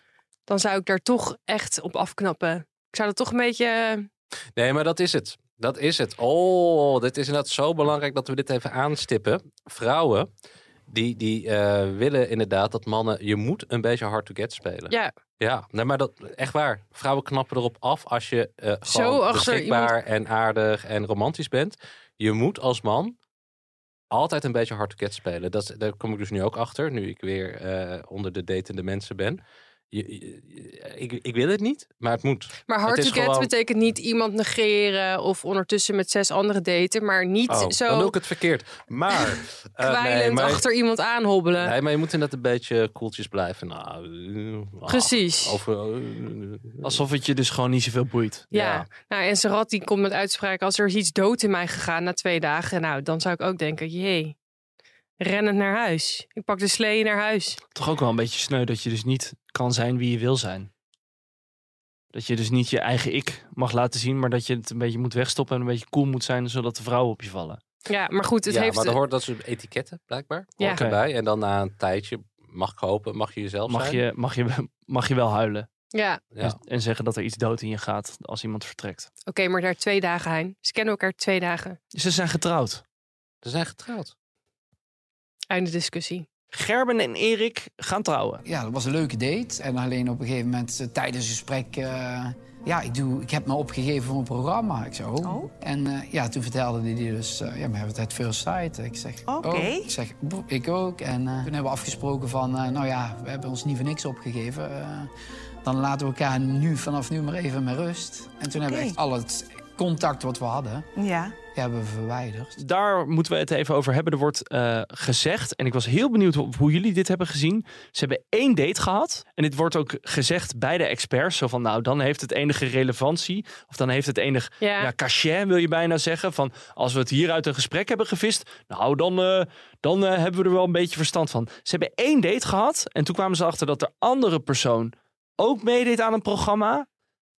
S4: Dan zou ik daar toch echt op afknappen. Ik zou dat toch een beetje... eh,
S3: Nee, maar dat is het. Dat is het. Oh, dit is inderdaad zo belangrijk dat we dit even aanstippen. Vrouwen, die, die eh, willen inderdaad dat mannen... Je moet een beetje hard to get spelen.
S4: ja,
S3: Ja, nee, maar dat, echt waar. Vrouwen knappen erop af als je eh gewoon
S4: Zo achter
S3: beschikbaar en aardig en romantisch bent. Je moet als man altijd een beetje hard to get spelen. Dat, is- daar kom ik dus nu ook achter, nu ik weer eh, onder de datende mensen ben. Je, je- ik, ik wil het niet, maar het moet.
S4: maar
S3: Het
S4: hard
S3: is
S4: to get
S3: gewoon-
S4: betekent niet iemand negeren... of ondertussen met zes anderen daten, maar niet
S3: Oh, dan
S4: zo
S3: doe ik het verkeerd. Maar, eh,
S4: kwijlend
S3: nee, maar,
S4: achter iemand aanhobbelen.
S3: nee, maar je moet inderdaad een beetje koeltjes blijven. Nou, eh, ah,
S4: Precies.
S3: Over, eh,
S2: Alsof het je dus gewoon niet zoveel boeit.
S4: Ja.
S3: Ja.
S4: nou en Sarat die komt met uitspraken: als er is iets dood in mij gegaan na twee dagen, nou dan zou ik ook denken: jee, rennend naar huis. Ik pak de slee naar huis.
S2: Toch ook wel een beetje sneu dat je dus niet kan zijn wie je wil zijn. Dat je dus niet je eigen ik mag laten zien, maar dat je het een beetje moet wegstoppen en een beetje cool moet zijn, zodat de vrouwen op je vallen.
S4: Ja, maar goed, het
S3: ja,
S4: heeft.
S3: maar er hoort dat soort etiketten blijkbaar.
S4: Ja.
S3: Hoort erbij. En dan na een tijdje mag ik hopen, mag je jezelf
S2: Mag
S3: zijn.
S2: je, mag je, mag je wel huilen
S4: Ja, oké,
S3: Ja.
S2: en, en zeggen dat er iets dood in je gaat als iemand vertrekt.
S4: maar daar twee dagen heen. Ze kennen elkaar twee dagen.
S2: Ze zijn getrouwd.
S3: Ze zijn getrouwd.
S4: Einde discussie.
S2: Gerben en Erik gaan trouwen.
S8: Ja, dat was een leuke date. En alleen op een gegeven moment eh, tijdens het gesprek... eh, ja, ik, doe, ik heb me opgegeven voor een programma. Ik zei, oh. En eh, ja, toen vertelde hij die dus... eh, ja, we hebben het at first sight. Ik zeg,
S9: Oké.
S8: oh. Ik zeg, boe, ik ook. En eh, toen hebben we afgesproken van... eh, nou ja, we hebben ons niet voor niks opgegeven. Eh, dan laten we elkaar nu, vanaf nu maar even met rust. En toen hebben we
S9: Oké.
S8: echt al het contact wat we hadden...
S9: Ja.
S8: hebben we verwijderd.
S2: Dus Daar moeten we het even over hebben. Er wordt eh, gezegd, en ik was heel benieuwd hoe, hoe jullie dit hebben gezien. Ze hebben één date gehad. En dit wordt ook gezegd bij de experts. Zo van, nou, dan heeft het enige relevantie. Of dan heeft het enig
S4: Ja.
S2: ja. cachet, wil je bijna zeggen. Van, als we het hier uit een gesprek hebben gevist. Nou, dan, eh, dan eh, hebben we er wel een beetje verstand van. Ze hebben één date gehad. En toen kwamen ze achter dat de andere persoon ook meedeed aan een programma.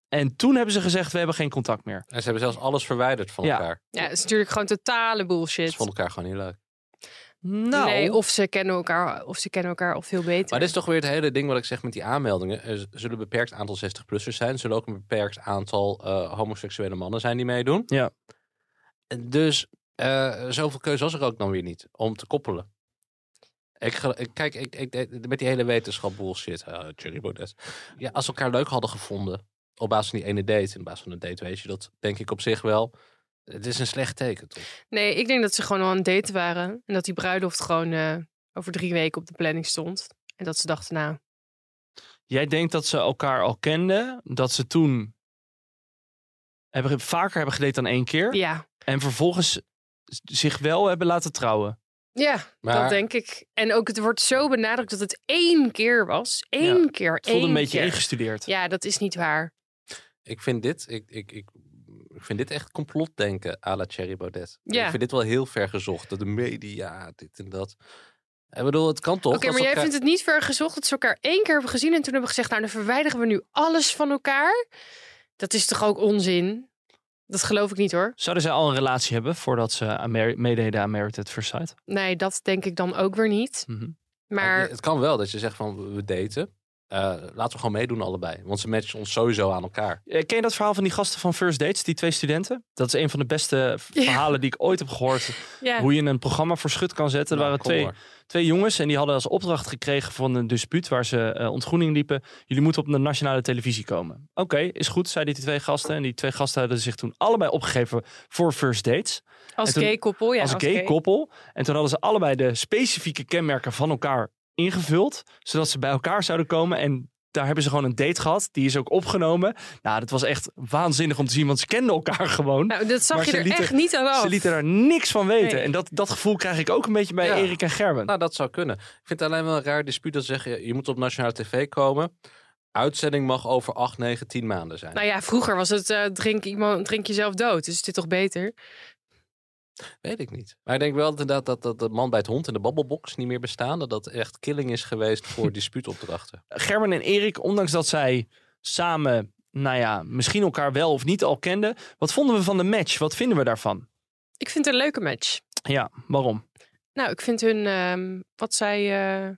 S2: En toen hebben ze gezegd, we hebben geen contact meer.
S3: En ze hebben zelfs alles verwijderd van
S2: Ja.
S3: elkaar.
S4: Ja, het is natuurlijk gewoon totale
S3: Ze
S4: bullshit.
S3: vonden elkaar gewoon niet leuk.
S2: Nou,
S4: Nee, of ze kennen elkaar, of ze kennen elkaar of veel beter.
S3: Maar dit is toch weer het hele ding wat ik zeg met die aanmeldingen. Er z- zullen een beperkt aantal 60-plussers zijn. Er zullen ook een beperkt aantal eh, homoseksuele mannen zijn die meedoen.
S2: Ja.
S3: En Dus eh, zoveel keuze was er ook dan weer niet om te koppelen. Ik, gel- ik- kijk, ik, ik, ik- met die hele wetenschap bullshit. eh Thierry Baudet. Ja, als ze elkaar leuk hadden gevonden op basis van die ene date. En op basis van een date weet je dat denk ik op zich wel. Het is een slecht teken toch?
S4: Nee, ik denk dat ze gewoon al aan het daten waren. En dat die bruiloft gewoon eh, over drie weken op de planning stond. En dat ze dachten, nou,
S2: Jij denkt dat ze elkaar al kenden, dat ze toen hebben, vaker hebben gedate dan één keer.
S4: ja.
S2: En vervolgens zich wel hebben laten trouwen.
S4: Ja,
S3: Maar-
S4: dat denk ik. En ook het wordt zo benadrukt dat het één keer was. Eén
S2: Ja,
S4: keer.
S2: Het voelde
S4: één
S2: een beetje
S4: keer.
S2: ingestudeerd.
S4: Ja, dat is niet waar.
S3: Ik vind dit, ik, ik, ik, ik vind dit echt complotdenken à la Thierry Baudet.
S4: Ja.
S3: Ik vind dit wel heel ver gezocht. Dat de media, dit en dat. Ik bedoel, het kan toch?
S4: Oké,
S3: als
S4: maar jij
S3: elkaar-
S4: vindt het niet ver gezocht dat ze elkaar één keer hebben gezien en toen hebben gezegd, nou dan verwijderen we nu alles van elkaar. Dat is toch ook onzin? Dat geloof ik niet hoor.
S2: Zouden zij al een relatie hebben voordat ze aan Mar- meededen aan Married at First Sight?
S4: Nee, dat denk ik dan ook weer niet.
S2: Mhm.
S4: Maar
S3: Het kan wel dat je zegt van, we daten. Eh, laten we gewoon meedoen allebei. Want ze matchen ons sowieso aan elkaar.
S2: Eh, Ken je dat verhaal van die gasten van First Dates, die twee studenten? Dat is een van de beste v-
S4: Ja.
S2: verhalen die ik ooit heb gehoord.
S4: ja,
S2: Hoe je een programma voor schut kan zetten. Er
S3: Nou,
S2: waren
S3: kom
S2: twee,
S3: maar.
S2: twee jongens en die hadden als opdracht gekregen van een dispuut waar ze eh, ontgroening liepen. Jullie moeten op de nationale televisie komen. Oké, is goed, zeiden die twee gasten. En die twee gasten hadden zich toen allebei opgegeven voor first dates.
S4: als
S2: en toen-
S4: gay koppel, ja.
S2: als gay koppel. En toen hadden ze allebei de specifieke kenmerken van elkaar ingevuld, zodat ze bij elkaar zouden komen en daar hebben ze gewoon een date gehad. Die is ook opgenomen. Nou, dat was echt waanzinnig om te zien, want ze kenden elkaar gewoon.
S4: Nou, dat zag
S2: Maar
S4: je
S2: ze
S4: er
S2: lieten-
S4: echt niet aan af.
S2: Ze lieten daar niks van weten.
S4: Nee.
S2: En dat, dat gevoel krijg ik ook een beetje bij
S3: Ja.
S2: Erik en Gerben.
S3: Nou, dat zou kunnen. Ik vind het alleen wel een raar dispuut dat ze zeggen... je moet op nationale tv komen. Uitzending mag over 8, 9, 10 maanden zijn.
S4: Nou ja, vroeger was het eh, drink, iemand, drink jezelf dood. Dus is dit toch beter?
S3: Weet ik niet. Maar ik denk wel inderdaad dat, dat de man bij het hond en de babbelbox niet meer bestaan. Dat dat echt killing is geweest voor dispuutopdrachten.
S2: Gerben en Erik, ondanks dat zij samen, nou ja, misschien elkaar wel of niet al kenden. Wat vonden we van de match? Wat vinden we daarvan?
S4: Ik vind het een leuke match.
S2: Ja, waarom?
S4: Nou, ik vind hun, ehm, wat zij, eh,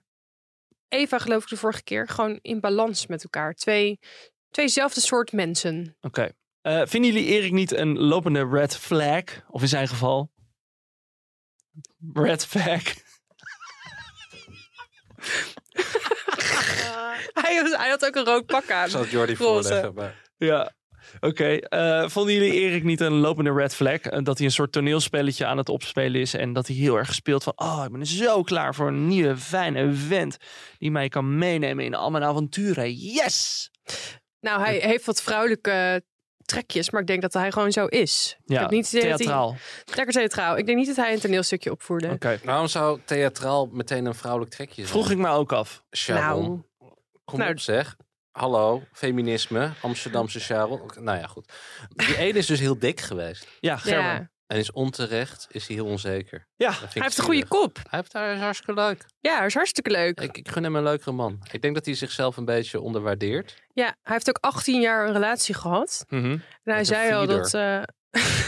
S4: Eva geloof ik de vorige keer, gewoon in balans met elkaar. Twee, tweezelfde soort mensen.
S2: Oké. Eh, vinden jullie Erik niet een lopende red flag? Of in zijn geval? Red flag.
S4: Hij, was- hij had ook een rood pak aan.
S3: Ik zal het Jordi
S4: Roze.
S3: voorleggen. Maar...
S2: Ja. Oké. Eh, vonden jullie Erik niet een lopende red flag? En dat hij een soort toneelspelletje aan het opspelen is. En dat hij heel erg speelt van... Oh, ik ben zo klaar voor een nieuwe fijne vent. Die mij kan meenemen in al mijn avonturen. Yes!
S4: Nou, hij heeft wat vrouwelijke trekjes, maar ik denk dat hij gewoon zo is. Ik
S2: Ja,
S4: heb niet het idee dat hij-
S2: theatraal.
S4: Lekker theatraal. Ik denk niet dat hij een toneelstukje opvoerde.
S2: Oké.
S3: Waarom zou theatraal meteen een vrouwelijk trekje zijn?
S2: Vroeg ik me ook af.
S3: Sharon,
S4: Nou.
S3: kom
S4: Nou.
S3: op zeg. Hallo, feminisme, Amsterdamse Sharon. Nou ja, goed. Die ene is dus heel dik geweest.
S2: Ja, Gerben.
S4: Ja.
S3: En is onterecht, is hij heel onzeker.
S2: Ja,
S3: Dat vind ik
S4: Hij heeft een
S3: zielig.
S4: goede kop.
S3: Hij heeft daar is hartstikke leuk.
S4: Ja, hij is hartstikke leuk.
S3: Ik, ik gun hem een leukere man. Ik denk dat hij zichzelf een beetje onderwaardeert.
S4: Ja, hij heeft ook 18 jaar een relatie gehad.
S2: Mhm.
S4: En hij
S3: Met een
S4: zei al dat. eh,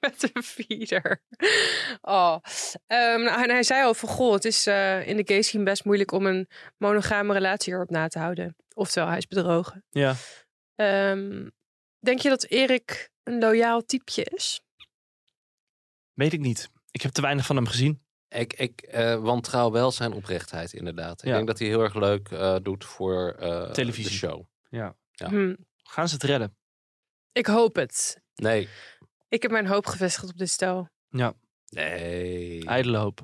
S4: met een feeder. Oh. Ehm, nou, en hij zei al van goh, het is eh, in de gay scene best moeilijk om een monogame relatie erop na te houden. Oftewel, hij is bedrogen.
S2: Ja.
S4: Ehm, denk je dat Erik een loyaal typeje is?
S2: Weet ik niet. Ik heb te weinig van hem gezien.
S3: Ik, ik eh wantrouw wel zijn oprechtheid, inderdaad. Ik
S2: Ja.
S3: denk dat hij heel erg leuk eh, doet voor eh,
S2: Televisie.
S3: de show. Ja.
S4: Hm,
S2: Gaan ze het redden?
S4: ik hoop het.
S3: Nee.
S4: Ik heb mijn hoop gevestigd op dit stel.
S3: Nee.
S2: Ijdele hoop.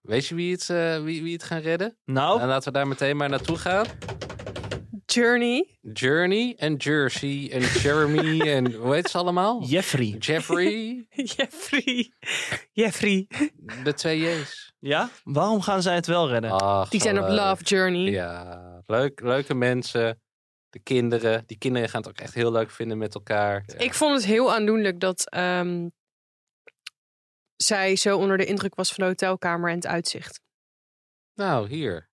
S3: Weet je wie het, eh, wie, wie het gaan redden?
S2: Nou,
S3: En laten we daar meteen maar naartoe gaan.
S4: Journey.
S3: Journey en Jersey en Jeremy en hoe heet ze allemaal?
S2: Jeffrey.
S3: Jeffrey.
S4: Jeffrey. Jeffrey.
S3: De twee J's.
S2: Ja? Waarom gaan zij het wel redden?
S3: Ach,
S4: Die
S3: zo
S4: zijn op
S3: leuk.
S4: Love Journey.
S3: Ja, leuk, leuke mensen. De kinderen. Die kinderen gaan het ook echt heel leuk vinden met elkaar. Ja.
S4: Ik vond het heel aandoenlijk dat ehm, zij zo onder de indruk was van de hotelkamer en het uitzicht.
S3: Nou, hier.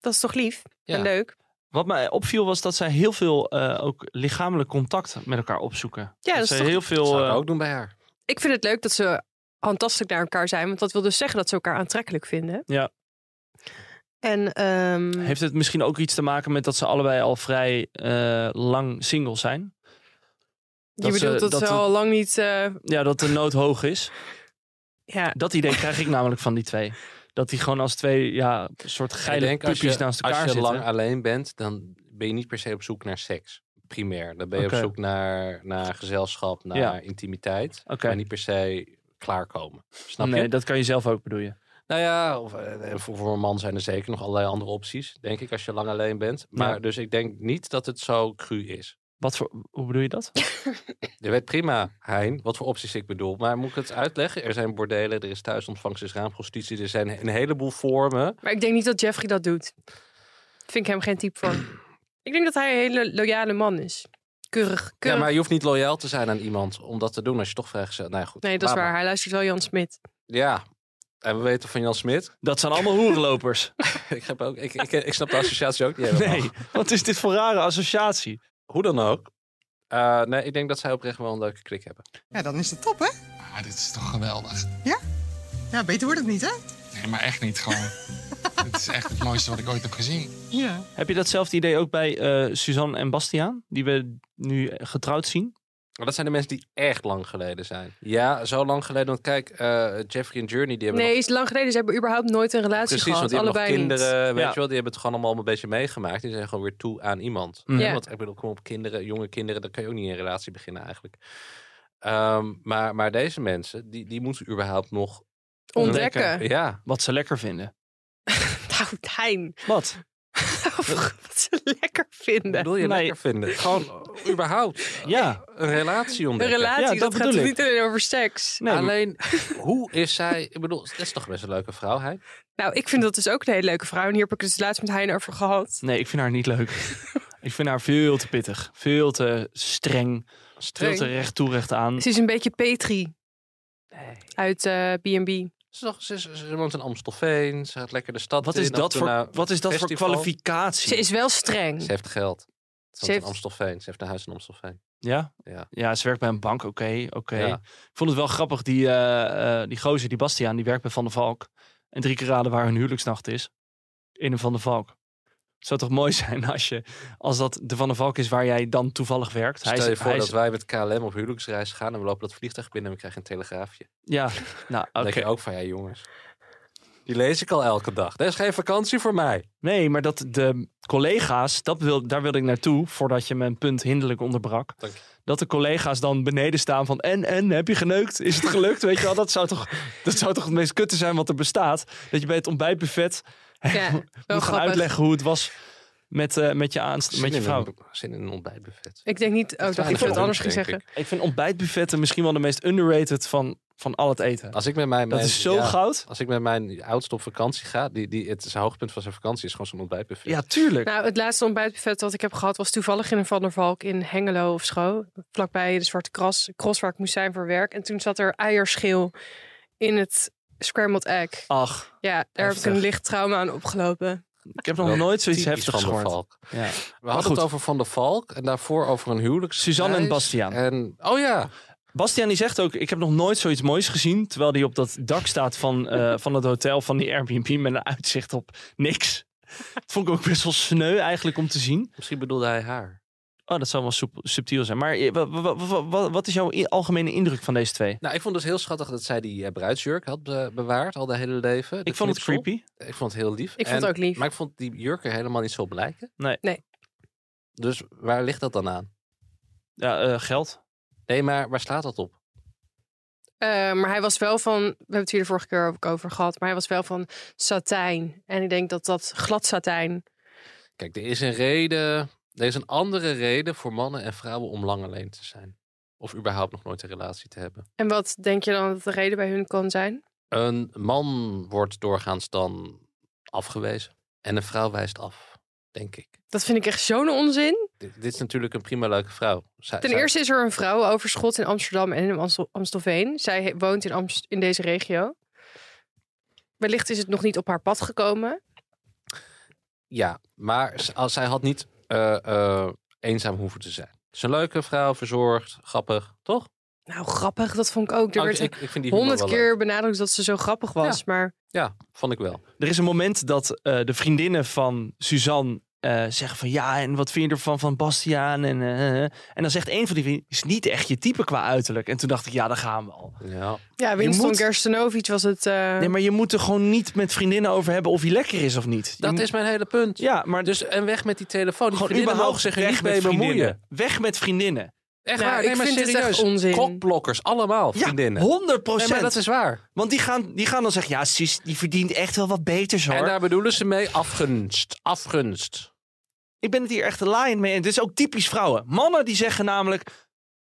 S4: Dat is toch lief
S3: Ja.
S4: en leuk?
S2: Wat mij opviel was dat zij heel veel eh, ook lichamelijk contact met elkaar opzoeken.
S4: Ja, dat is
S2: zij
S4: toch-
S2: heel
S3: Dat
S2: veel.
S3: zou ik
S2: eh,
S3: ook doen bij haar.
S4: Ik vind het leuk dat ze handtastelijk naar elkaar zijn, want dat wil dus zeggen dat ze elkaar aantrekkelijk vinden.
S2: Ja.
S4: En ehm,
S2: Heeft het misschien ook iets te maken met dat ze allebei al vrij eh, lang single zijn?
S4: je
S2: dat ze-
S4: bedoelt dat,
S2: dat
S4: ze
S2: het-
S4: al lang niet. eh,
S2: Ja, dat de nood hoog is.
S4: ja.
S2: Dat idee krijg ik namelijk van die twee. Dat die gewoon als twee ja, soort
S3: Ik
S2: geile
S3: denk, als
S2: puppies
S3: je,
S2: naast elkaar
S3: Als je
S2: zitten.
S3: lang alleen bent, dan ben je niet per se op zoek naar seks. Primair. Dan ben je
S2: Oké.
S3: op zoek naar, naar gezelschap, naar
S2: Ja.
S3: intimiteit.
S2: Oké.
S3: Maar niet per se klaarkomen. Snap
S2: nee,
S3: je?
S2: dat kan je zelf ook bedoelen.
S3: Nou ja, of, eh, voor, voor een man zijn er zeker nog allerlei andere opties, denk ik, als je lang alleen bent. Maar
S2: Ja.
S3: dus ik denk niet dat het zo cru is.
S2: Wat voor, hoe bedoel je dat?
S3: Je weet prima, Hein, wat voor opties ik bedoel. Maar moet ik het uitleggen? Er zijn bordelen, er is thuisontvangst, er is raamprostitutie, er zijn een heleboel vormen.
S4: Maar ik denk niet dat Jeffrey dat doet. Vind ik hem geen type van. ik denk dat hij een hele loyale man is. Keurig,
S3: Ja,
S4: keurig.
S3: maar je hoeft niet loyaal te zijn aan iemand om dat te doen als je toch vrijgezet. Nou ja, goed.
S4: Nee, dat is
S3: laat
S4: waar.
S3: maar.
S4: Hij luistert wel Jan Smit.
S3: Ja. En we weten van Jan Smit.
S2: Dat zijn allemaal hoerenlopers.
S3: ik, heb ook, ik, ik, ik snap de associatie ook niet helemaal.
S2: Nee, wat is dit voor rare associatie?
S3: Hoe dan ook. Eh, nee, ik denk dat zij oprecht wel een leuke klik hebben.
S10: Ja, dan is het top, hè?
S7: Ah, dit is toch geweldig.
S10: Ja, beter wordt het niet, hè?
S7: Nee, maar echt niet gewoon. Het is echt het mooiste wat ik ooit heb gezien.
S10: Ja.
S2: Heb je datzelfde idee ook bij eh, Suzanne en Bastiaan? Die we nu getrouwd zien?
S3: Maar dat zijn de mensen die echt lang geleden zijn. Ja, zo lang geleden. Want kijk, eh, Jeffrey en Journey, die hebben
S4: Nee,
S3: nog...
S4: is lang geleden. Ze hebben überhaupt nooit een relatie
S3: Precies, want
S4: gehad.
S3: die hebben nog
S4: allebei niet.
S3: kinderen, weet
S2: Ja.
S3: je wel. Die hebben het gewoon allemaal een beetje meegemaakt. Die zijn gewoon weer toe aan iemand.
S2: Mhm.
S4: Ja.
S3: Want ik bedoel, kom op, kinderen, jonge kinderen, daar kan je ook niet in een relatie beginnen eigenlijk. Ehm, maar, maar deze mensen, die, die moeten überhaupt nog
S4: Ontdekken.
S3: Ja,
S2: Wat ze lekker vinden.
S4: Goudijn.
S2: Wat?
S4: Oh, Wat ze lekker vinden.
S3: Wil je lekker vinden? Gewoon eh, überhaupt
S2: ja.
S3: een relatie
S4: Een
S3: ontdekken.
S4: relatie,
S2: Ja,
S4: dat,
S2: dat
S4: gaat
S2: bedoel
S4: toch
S2: ik.
S4: niet alleen over seks.
S3: Alleen, hoe is zij... Ik bedoel, dat is toch best een leuke vrouw, hij?
S4: Nou, ik vind dat dus ook een hele leuke vrouw. En hier heb ik het dus laatst met Hein over gehad.
S2: Nee, ik vind haar niet leuk. ik vind haar veel te pittig. Veel te streng.
S3: Streng?
S2: Veel te recht toe, recht
S3: Mm.
S2: aan.
S4: Ze is een beetje Petri uit eh, B&B.
S3: Ze, is toch- ze, is- ze woont in Amstelveen, ze gaat lekker de stad
S2: Wat is
S3: in, af en
S2: dat
S3: toe
S2: voor,
S3: naar
S2: wat is dat voor
S3: festival.
S2: kwalificatie?
S4: Ze is wel streng.
S3: Ze heeft geld. Ze, woont
S4: heeft-
S3: in Amstelveen, ze heeft een huis in Amstelveen.
S2: Ja?
S3: Ja.
S2: ja, ze werkt bij een bank. Oké, oké.
S3: Ja.
S2: Ik vond het wel grappig, die, eh, eh, die gozer, die Bastiaan, die werkt bij Van der Valk. En drie keer raden waar hun huwelijksnacht is. In een Van der Valk. Zou toch mooi zijn als, je, als dat de Van der Valk is waar jij dan toevallig werkt.
S3: Stel je
S2: is,
S3: voor
S2: is-
S3: dat wij met KLM op huwelijksreis gaan en we lopen dat vliegtuig binnen en we krijgen een telegraafje.
S2: Ja, nou oké.
S3: Dan denk je ook van, ja jongens, die lees ik al elke dag. Er is geen vakantie voor mij.
S2: Nee, maar dat de collega's, dat wil, daar wilde ik naartoe voordat je mijn punt hinderlijk onderbrak.
S3: Dank je.
S2: Dat de collega's dan beneden staan van en, en, heb je geneukt? Is het gelukt? Weet je wel, dat zou toch, dat zou toch het meest kutte zijn wat er bestaat. Dat je bij het ontbijtbuffet
S4: Ja, wel
S2: moet gaan
S4: grappig.
S2: uitleggen hoe het was met, eh, met, je, aanst-
S3: Zin
S2: met je
S3: in
S2: vrouw.
S3: een- Zin in een ontbijtbuffet.
S4: Ik denk niet... Oh, ik
S3: Weinig
S4: dacht dat je het
S3: voor
S4: anders ging
S3: ons,
S4: zeggen.
S3: denk
S2: Ik vind ontbijtbuffetten misschien wel de meest underrated van, van al het eten.
S3: Als ik met mijn
S2: Dat
S3: mijn-
S2: is zo
S3: ja,
S2: goud.
S3: Als ik met mijn oudste op vakantie ga, die, die, het zijn hoogtepunt van zijn vakantie is gewoon zo'n ontbijtbuffet.
S2: Ja, tuurlijk.
S4: Nou, het laatste ontbijtbuffet dat ik heb gehad was toevallig in een Van der Valk in Hengelo of zo. Vlakbij de Zwarte Kras, cross waar ik moest zijn voor werk. En toen zat er eierschil in het scrambled egg.
S2: Ach,
S4: Ja, daar heb
S2: Ah, heftig.
S4: ik een licht trauma aan opgelopen.
S2: ik heb nog nooit zoiets
S3: Typisch
S2: heftigs
S3: van de
S2: gehoord.
S3: Valk.
S2: Ja.
S3: We hadden
S2: goed.
S3: het over Van der Valk en daarvoor over een huwelijk.
S2: Suzanne en Bastiaan.
S3: En, oh ja,
S2: Bastiaan die zegt ook, ik heb nog nooit zoiets moois gezien. Terwijl hij op dat dak staat van, eh, van het hotel, van die Airbnb met een uitzicht op niks. Dat vond ik ook best wel sneu eigenlijk om te zien.
S3: misschien bedoelde hij haar.
S2: Oh, dat zou wel soep- subtiel zijn. Maar eh, wa- wa- wa- wa- wat is jouw i- algemene indruk van deze twee?
S3: Nou, ik vond het dus heel schattig dat zij die eh, bruidsjurk had be- bewaard al de hele leven.
S2: Ik
S3: De
S2: vond het
S3: knipsel.
S2: creepy.
S3: Ik vond het heel lief.
S4: Ik vond
S3: En-
S4: het ook lief.
S3: Maar ik vond die jurken helemaal niet zo blijken.
S2: Nee.
S4: Nee.
S3: Dus waar ligt dat dan aan?
S2: Ja, eh, geld.
S3: Nee, maar waar slaat dat op?
S4: Eh, maar hij was wel van, we hebben het hier de vorige keer ook over gehad, maar hij was wel van satijn. En ik denk dat dat glad satijn.
S3: Kijk, er is een reden. Er is een andere reden voor mannen en vrouwen om lang alleen te zijn. Of überhaupt nog nooit een relatie te hebben.
S4: En wat denk je dan dat de reden bij hun kan zijn?
S3: Een man wordt doorgaans dan afgewezen. En een vrouw wijst af, denk ik.
S4: Dat vind ik echt zo'n onzin.
S3: Dit, dit is natuurlijk een prima leuke vrouw. Zij-
S4: Ten
S3: zij-
S4: eerste is er een vrouwenoverschot in Amsterdam en in Amstel- Amstelveen. Zij he- woont in, Amst- in deze regio. Wellicht is het nog niet op haar pad gekomen.
S3: Ja, maar z- als, zij had niet eh, eh, eenzaam hoeven te zijn. Ze is een leuke vrouw, verzorgd, grappig, toch?
S4: Nou, grappig, dat vond ik ook. Er
S3: Oh,
S4: werd
S3: vind humor
S4: honderd
S3: wel
S4: keer benadrukt dat ze zo grappig was.
S3: Ja.
S4: Maar
S3: leuk. Ja, vond ik wel.
S2: Er is een moment dat eh, de vriendinnen van Suzanne eh, zeggen van... Ja, en wat vind je ervan van Bastiaan? En, eh, eh. en dan zegt een van die vrienden, is niet echt je type qua uiterlijk. En toen dacht ik, ja, daar gaan we al.
S3: Ja.
S4: ja, Winston
S2: moet-
S4: Gerstenovic was het... eh,
S2: Nee, maar je moet er gewoon niet met vriendinnen over hebben of hij lekker is of niet. Je
S3: Dat
S2: moet-
S3: is mijn hele punt.
S2: Ja, maar
S3: Dus en weg met die telefoon. Die
S2: gewoon
S3: vriendinnen
S2: überhaupt
S3: mogen zich er
S2: weg
S3: niet
S2: met
S3: mee bemoeien.
S2: vriendinnen. Weg met vriendinnen.
S3: Echt
S4: Nou,
S3: waar,
S4: ik
S3: nee, maar
S4: vind het echt
S3: serieus.
S4: onzin.
S3: Kokblokkers, allemaal vriendinnen.
S2: Ja, 100
S3: nee, maar dat is waar.
S2: Want die gaan, die gaan dan zeggen, ja, Sis, die verdient echt wel wat beters hoor.
S3: En daar bedoelen ze mee afgunst. Afgunst.
S2: Ik ben het hier echt laaiend mee. En dit is ook typisch vrouwen. Mannen die zeggen namelijk,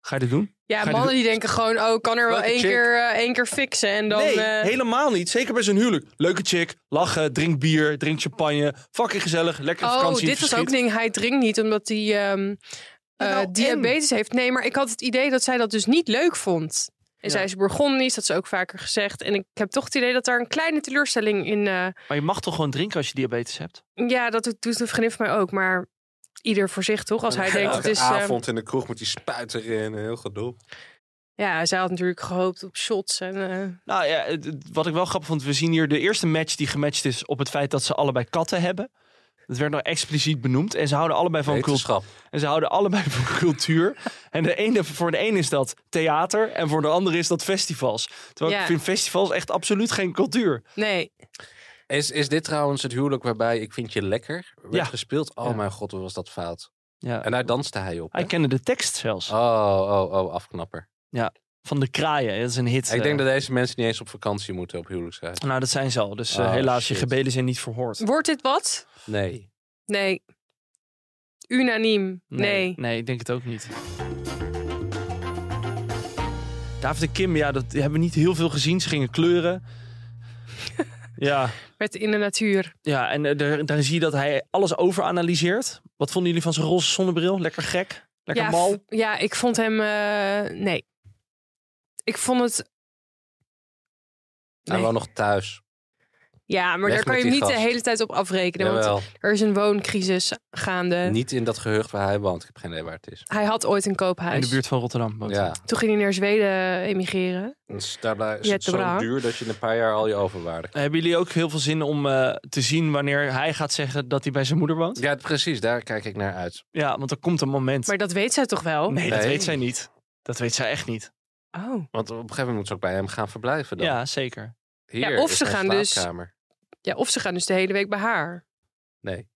S2: ga je dit doen?
S4: Ja,
S2: Ga je
S4: mannen die denken gewoon, oh, ik kan er wel
S3: Welke
S4: één
S3: chick?
S4: keer, eh, één keer fixen. En dan,
S2: nee,
S4: eh,
S2: helemaal niet. Zeker bij zo'n huwelijk. Leuke chick, lachen, drink bier, drink champagne. Fucking gezellig, lekkere
S4: oh,
S2: vakantie.
S4: dit was ook
S2: verschiet.
S4: een ding, hij drinkt niet omdat hij ehm, eh,
S2: Nou, en?
S4: diabetes heeft. Nee, maar ik had het idee dat zij dat dus niet leuk vond. En zij is Bourgondisch, dat is ook vaker gezegd. En ik heb toch het idee dat daar een kleine teleurstelling in... eh,
S2: Maar je mag toch gewoon drinken als je diabetes hebt?
S4: ja, dat doet doet een vriendin van mij ook, maar... Ieder voor zich, toch? Als hij denkt, het is... ehm,
S3: in de kroeg met die spuiten eh, erin. Heel gedoe.
S4: ja, zij had natuurlijk gehoopt op shots. En, eh,
S2: Nou ja, het- het- wat ik wel grappig vond, we zien hier de eerste match die gematcht is op het feit dat ze allebei katten hebben. Dat werd nog expliciet benoemd. En ze houden allebei van cultuur.
S3: Wetenschap.
S2: En ze houden allebei van cultuur. En de ene, voor de ene is dat theater en voor de andere is dat festivals. Terwijl
S4: Ja.
S2: ik vind festivals echt absoluut geen cultuur.
S4: nee,
S3: Is, is dit trouwens het huwelijk waarbij ik vind je lekker werd
S2: Ja.
S3: gespeeld? Oh
S2: Ja.
S3: mijn god, hoe was dat fout.
S2: Ja.
S3: En daar danste hij op.
S2: Hij
S3: hè?
S2: kende de tekst zelfs.
S3: Oh, oh, oh, afknapper.
S2: Ja. van de kraaien. Dat is een hit.
S3: Ik
S2: eh.
S3: denk dat deze mensen niet eens op vakantie moeten op huwelijksreis.
S2: Nou, dat zijn ze al. Dus eh,
S3: Oh,
S2: helaas,
S3: shit.
S2: je gebeden zijn niet verhoord.
S4: Wordt dit wat?
S3: Nee.
S4: Nee. Unaniem. Nee.
S2: nee. ik denk het ook niet. David en Kim, ja, dat die hebben we niet heel veel gezien. Ze gingen kleuren. ja,
S4: Met in de natuur.
S2: ja, en eh, daar, daar zie je dat hij alles overanalyseert. Wat vonden jullie van zijn roze zonnebril? Lekker gek? Lekker
S4: ja,
S2: mal?
S4: f- Ja, ik vond hem... eh, nee. Ik vond het...
S3: Nou,
S4: Nee.
S3: wel nog thuis.
S4: Ja, maar
S3: Weg
S4: daar kan
S3: met
S4: je hem
S3: die
S4: niet de
S3: gast.
S4: hele tijd op afrekenen.
S3: Jawel.
S4: Want er is een wooncrisis gaande.
S3: Niet in dat geheugd waar hij woont. Ik heb geen idee waar het is.
S4: Hij had ooit een koophuis.
S2: In de buurt van Rotterdam. woont hij.
S3: Ja,
S4: Toen ging hij naar Zweden emigreren.
S3: dus daar blij- is het
S4: Je hebt de
S3: zo
S4: bra.
S3: duur dat je in een paar jaar al je overwaarde
S2: Hebben jullie ook heel veel zin om eh, te zien wanneer hij gaat zeggen dat hij bij zijn moeder woont?
S3: Ja, precies. Daar kijk ik naar uit.
S2: Ja, want er komt een moment.
S4: Maar dat weet zij toch wel?
S2: nee, dat
S3: Nee.
S2: weet zij niet. Dat weet zij echt niet.
S4: Oh.
S3: Want op een gegeven moment moet ze ook bij hem gaan verblijven dan.
S2: Ja, zeker.
S3: Hier
S4: Ja, of
S3: is
S4: ze
S3: mijn
S4: gaan dus-
S3: slaapkamer.
S4: Ja, of ze gaan dus de hele week bij haar.
S3: Nee,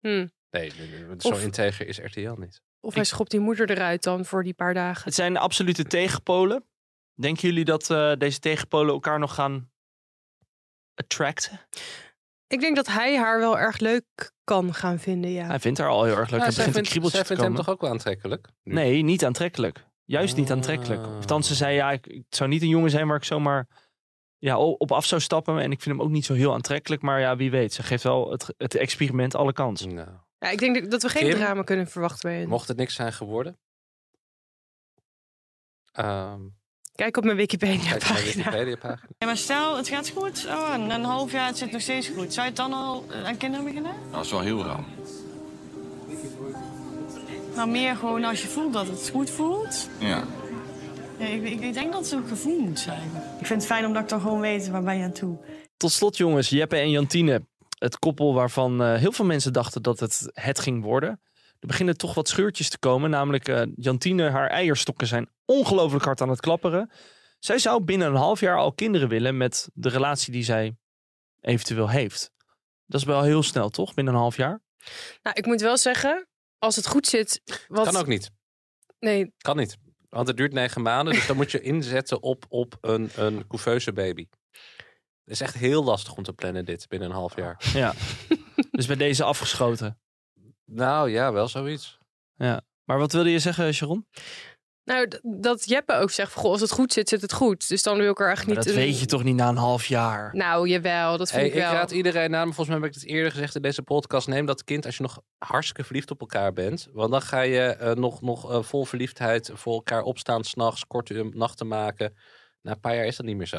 S4: Hm.
S3: nee, nee, nee, zo
S4: Of-
S3: integer is RTL niet.
S4: Of hij schopt die moeder eruit dan voor die paar dagen.
S2: Het zijn absolute tegenpolen. Denken jullie dat eh, deze tegenpolen elkaar nog gaan attracten?
S4: Ik denk dat hij haar wel erg leuk kan gaan vinden, ja.
S2: Hij vindt haar al heel erg leuk.
S3: Ja,
S2: Hij begint
S3: zij
S2: een
S3: vindt,
S2: kriebeltje te
S3: zij vindt hem
S2: komen.
S3: toch ook wel aantrekkelijk? Nu?
S2: Nee, niet aantrekkelijk. Juist niet aantrekkelijk.
S3: Ah.
S2: Of dan ze zei, ja, ik, ik zou niet een jongen zijn waar ik zomaar ja, o- op af zou stappen. En ik vind hem ook niet zo heel aantrekkelijk. Maar ja, wie weet. Ze geeft wel het, het experiment alle kans.
S3: Nou,
S4: Ja, ik denk dat we geen
S3: Kim?
S4: drama kunnen verwachten bij hen.
S3: mocht het niks zijn geworden? Ehm
S4: Kijk op mijn
S3: kijk naar de
S4: Wikipedia-pagina.
S3: Wikipedia-pagina.
S9: Ja, maar stel, het gaat goed. Oh, en een half jaar het zit nog steeds goed. Zou je het dan al eh, aan kinderen beginnen?
S7: Dat is wel heel raar.
S9: Nou, meer gewoon als je voelt dat het goed voelt.
S7: Ja.
S9: Ja, ik, ik, ik denk dat het een gevoel moet zijn. Ik vind het fijn omdat ik dan gewoon weet waar ben je aan toe.
S2: Tot slot jongens, Jeppe en Jantine. Het koppel waarvan eh, heel veel mensen dachten dat het het ging worden. Er beginnen toch wat scheurtjes te komen. Namelijk eh, Jantine, haar eierstokken zijn ongelooflijk hard aan het klapperen. Zij zou binnen een half jaar al kinderen willen met de relatie die zij eventueel heeft. Dat is wel heel snel, toch? Binnen een half jaar.
S4: Nou, ik moet wel zeggen, als het goed zit... Wat...
S3: Kan ook niet.
S4: Nee,
S3: Kan niet. Want het duurt negen maanden, dus dan moet je inzetten op, op een, een couveuse baby. Het is echt heel lastig om te plannen dit binnen een half jaar.
S2: Ja. dus bij deze afgeschoten.
S3: Nou ja, wel zoiets.
S2: Maar wat wilde je zeggen, Sharon?
S4: nou, d- dat Jeppe ook zegt, van, goh, als het goed zit, zit het goed. Dus dan wil ik er echt
S2: Maar
S4: niet...
S2: dat
S4: een-
S2: weet je toch niet na een half jaar?
S4: Nou, jawel, dat vind
S3: Hey,
S4: ik
S3: ik
S4: wel.
S3: raad iedereen aan, maar volgens mij heb ik het eerder gezegd in deze podcast. Neem dat kind als je nog hartstikke verliefd op elkaar bent. Want dan ga je eh, nog, nog eh, vol verliefdheid voor elkaar opstaan, s'nachts, korte um, nachten maken. Na een paar jaar is dat niet meer zo.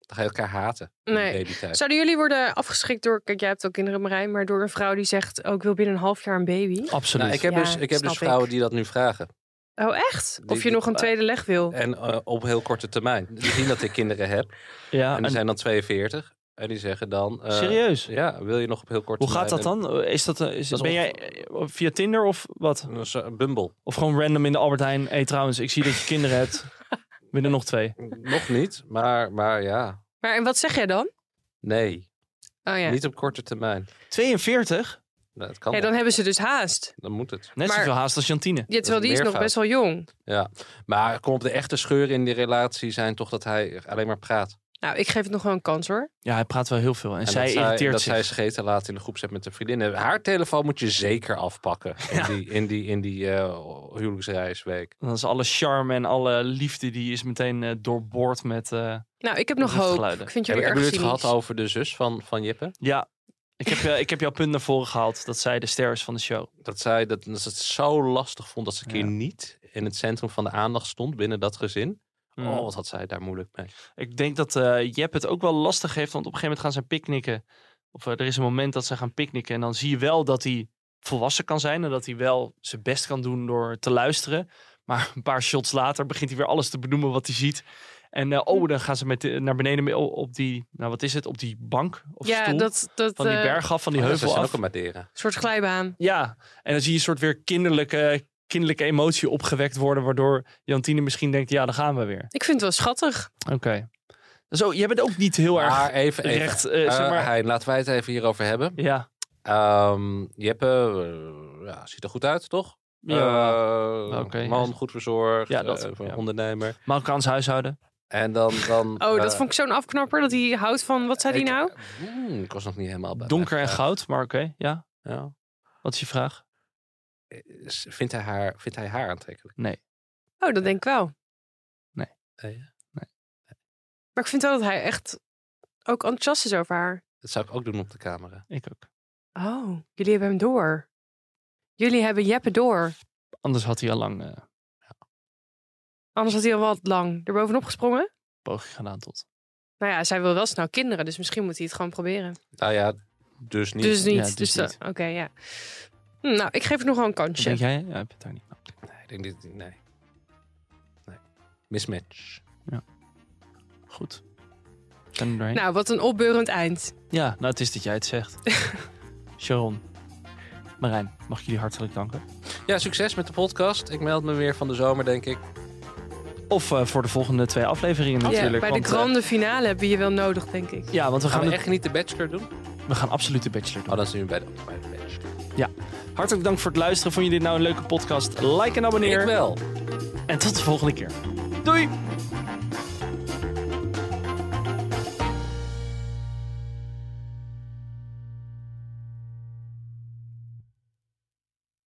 S3: Dan ga je elkaar haten. in die
S4: Nee.
S3: babytijd.
S4: Zouden jullie worden afgeschrikt door... Kijk, jij hebt ook kinderen, Marijn. Maar door een vrouw die zegt... Oh, ik wil binnen een half jaar een baby.
S2: Absoluut.
S3: Nou, ik heb
S4: Ja,
S3: dus, ik heb dus
S4: snap
S3: vrouwen
S4: ik.
S3: die dat nu vragen.
S4: Oh, echt?
S3: Die-
S4: Of je
S3: die-
S4: nog een tweede leg wil?
S3: En eh, op heel korte termijn. Die zien dat ik kinderen heb.
S2: ja,
S3: En
S2: en-
S3: die zijn dan 42. En die zeggen dan... eh,
S2: Serieus?
S3: Ja, wil je nog op heel korte
S2: Hoe gaat dat
S3: termijn?
S2: dan? Is dat, eh, is,
S3: Dat is
S2: ben jij eh, via Tinder of wat?
S3: Een soort Bumble.
S2: Of gewoon random in de Albert Heijn. Hé, trouwens, ik zie dat je kinderen hebt. Binnen nog twee.
S3: Nog niet, maar, maar ja.
S4: Maar en wat zeg jij dan?
S3: Nee,
S4: Oh ja.
S3: niet op korte termijn.
S2: 42?
S3: Nou, dat kan
S4: ja, dan
S3: nog.
S4: hebben ze dus haast.
S3: dan moet het.
S2: Net
S4: Maar-
S2: zoveel haast als Jantine.
S4: Ja, terwijl
S3: een
S4: die is nog
S3: meervoud.
S4: best wel jong.
S3: Ja. Maar kom op, de echte scheuren in die relatie zijn toch dat hij alleen maar praat.
S4: Nou, ik geef het nog wel een kans hoor.
S2: Ja, hij praat wel heel veel. En,
S3: En
S2: zij
S3: dat
S2: irriteert
S3: zij, dat
S2: zich.
S3: zij scheten laat in de groep zet met de vriendinnen. Haar telefoon moet je zeker afpakken in die, in die, in die eh, huwelijksreisweek.
S2: Dan is alle charme en alle liefde die is meteen eh, doorboord met... eh,
S4: Nou, ik heb
S2: Dat
S4: nog
S2: is
S4: hoop.
S2: geluiden.
S4: Ik vind jullie
S3: Hebben
S4: erg
S3: jullie het
S4: cynisch.
S3: gehad over de zus van, van Jippe?
S2: ja, ik heb, eh, ik heb jouw punt naar voren gehaald. Dat zij de ster is van de show.
S3: Dat zij dat, dat ze het zo lastig vond dat ze een keer niet in het centrum van de aandacht stond binnen dat gezin.
S2: Mm.
S3: Oh, wat had zij daar moeilijk mee.
S2: Ik denk dat eh Jep het ook wel lastig heeft. Want op een gegeven moment gaan zij picknicken. Of eh, er is een moment dat zij gaan picknicken. En dan zie je wel dat hij volwassen kan zijn. En dat hij wel zijn best kan doen door te luisteren. Maar een paar shots later begint hij weer alles te benoemen wat hij ziet. En eh,
S4: Hm.
S2: oh, dan gaan ze met, de- naar beneden mee- op die, nou wat is het, op die bank of
S4: Ja,
S2: stoel.
S4: dat, dat
S2: van die
S4: eh,
S2: berg af, van die
S3: Oh, ja, ze
S2: heuvel
S3: zijn
S2: af.
S3: ook een Madeira.
S4: soort glijbaan.
S2: Ja, en dan zie je een soort weer kinderlijke, kinderlijke emotie opgewekt worden. Waardoor Jantine misschien denkt, ja, dan gaan we weer.
S4: Ik vind het wel schattig.
S2: Oké. Zo, jij bent ook niet heel erg...
S3: Maar even, even.
S2: recht, eh, zeg
S3: Eh,
S2: maar-
S3: Hein, laten wij het even hierover hebben.
S2: Ja,
S3: Ehm, Jeppe eh, ja, ziet er goed uit, toch? Ja.
S2: Oké,
S3: man,
S2: ja.
S3: goed verzorgd.
S2: Ja, dat,
S3: eh, voor
S2: ja.
S3: ondernemer.
S2: Marokkaans huishouden.
S3: En dan... dan eh,
S4: Oh,
S2: Eh,
S4: dat vond ik zo'n afknapper dat hij houdt van. Wat zei hij nou?
S3: hmm, ik was nog niet helemaal bij. eh,
S2: Donker en
S3: Ja.
S2: goud, maar oké, ja.
S3: Ja.
S2: Wat is je vraag?
S3: Is- Vindt hij haar, vindt hij haar aantrekkelijk?
S2: Nee.
S4: Oh, dat denk ik wel.
S3: Nee, hè?
S4: Maar ik vind wel dat hij echt ook enthousiast is over haar.
S3: Dat zou ik ook doen op de camera.
S2: Ik ook.
S4: Oh, jullie hebben hem door. Jullie hebben Jeppe door.
S2: Anders had hij al lang eh
S4: Anders had hij al wat lang erbovenop gesprongen.
S2: poging gedaan tot.
S4: Nou ja, zij wil wel snel kinderen, dus misschien moet hij het gewoon proberen.
S3: Nou ja, dus niet.
S4: Dus niet.
S2: Ja,
S4: dus
S2: dus
S4: dat-
S2: niet.
S4: Oké, ja. Hm, Nou, ik geef het nog wel een
S2: Wat
S4: kansje.
S2: denk jij? Ja, ik ben daar niet. Nou,
S3: Nee, ik denk dit, nee. nee. Mismatch.
S2: Goed. Zijn we doorheen?
S4: Nou, wat een opbeurend eind.
S2: Ja, nou het is dat jij het zegt. Sharon, Marijn, mag ik jullie hartelijk danken.
S3: Ja, succes met de podcast. Ik meld me weer van de zomer, denk ik.
S2: Of eh, voor de volgende twee afleveringen natuurlijk.
S4: Ja, bij de Oh,
S2: want, eh,
S4: grande finale hebben we je wel nodig, denk ik.
S2: ja, want we gaan,
S3: Gaan we
S2: het-
S3: echt niet de bachelor doen?
S2: we gaan absoluut de bachelor doen.
S3: Oh, dan zijn we bij de, bij de bachelor.
S2: Ja. Hartelijk dank voor het luisteren. Vond je dit nou een leuke podcast? Like en abonneer.
S3: Ik wel.
S2: En tot de volgende keer. Doei!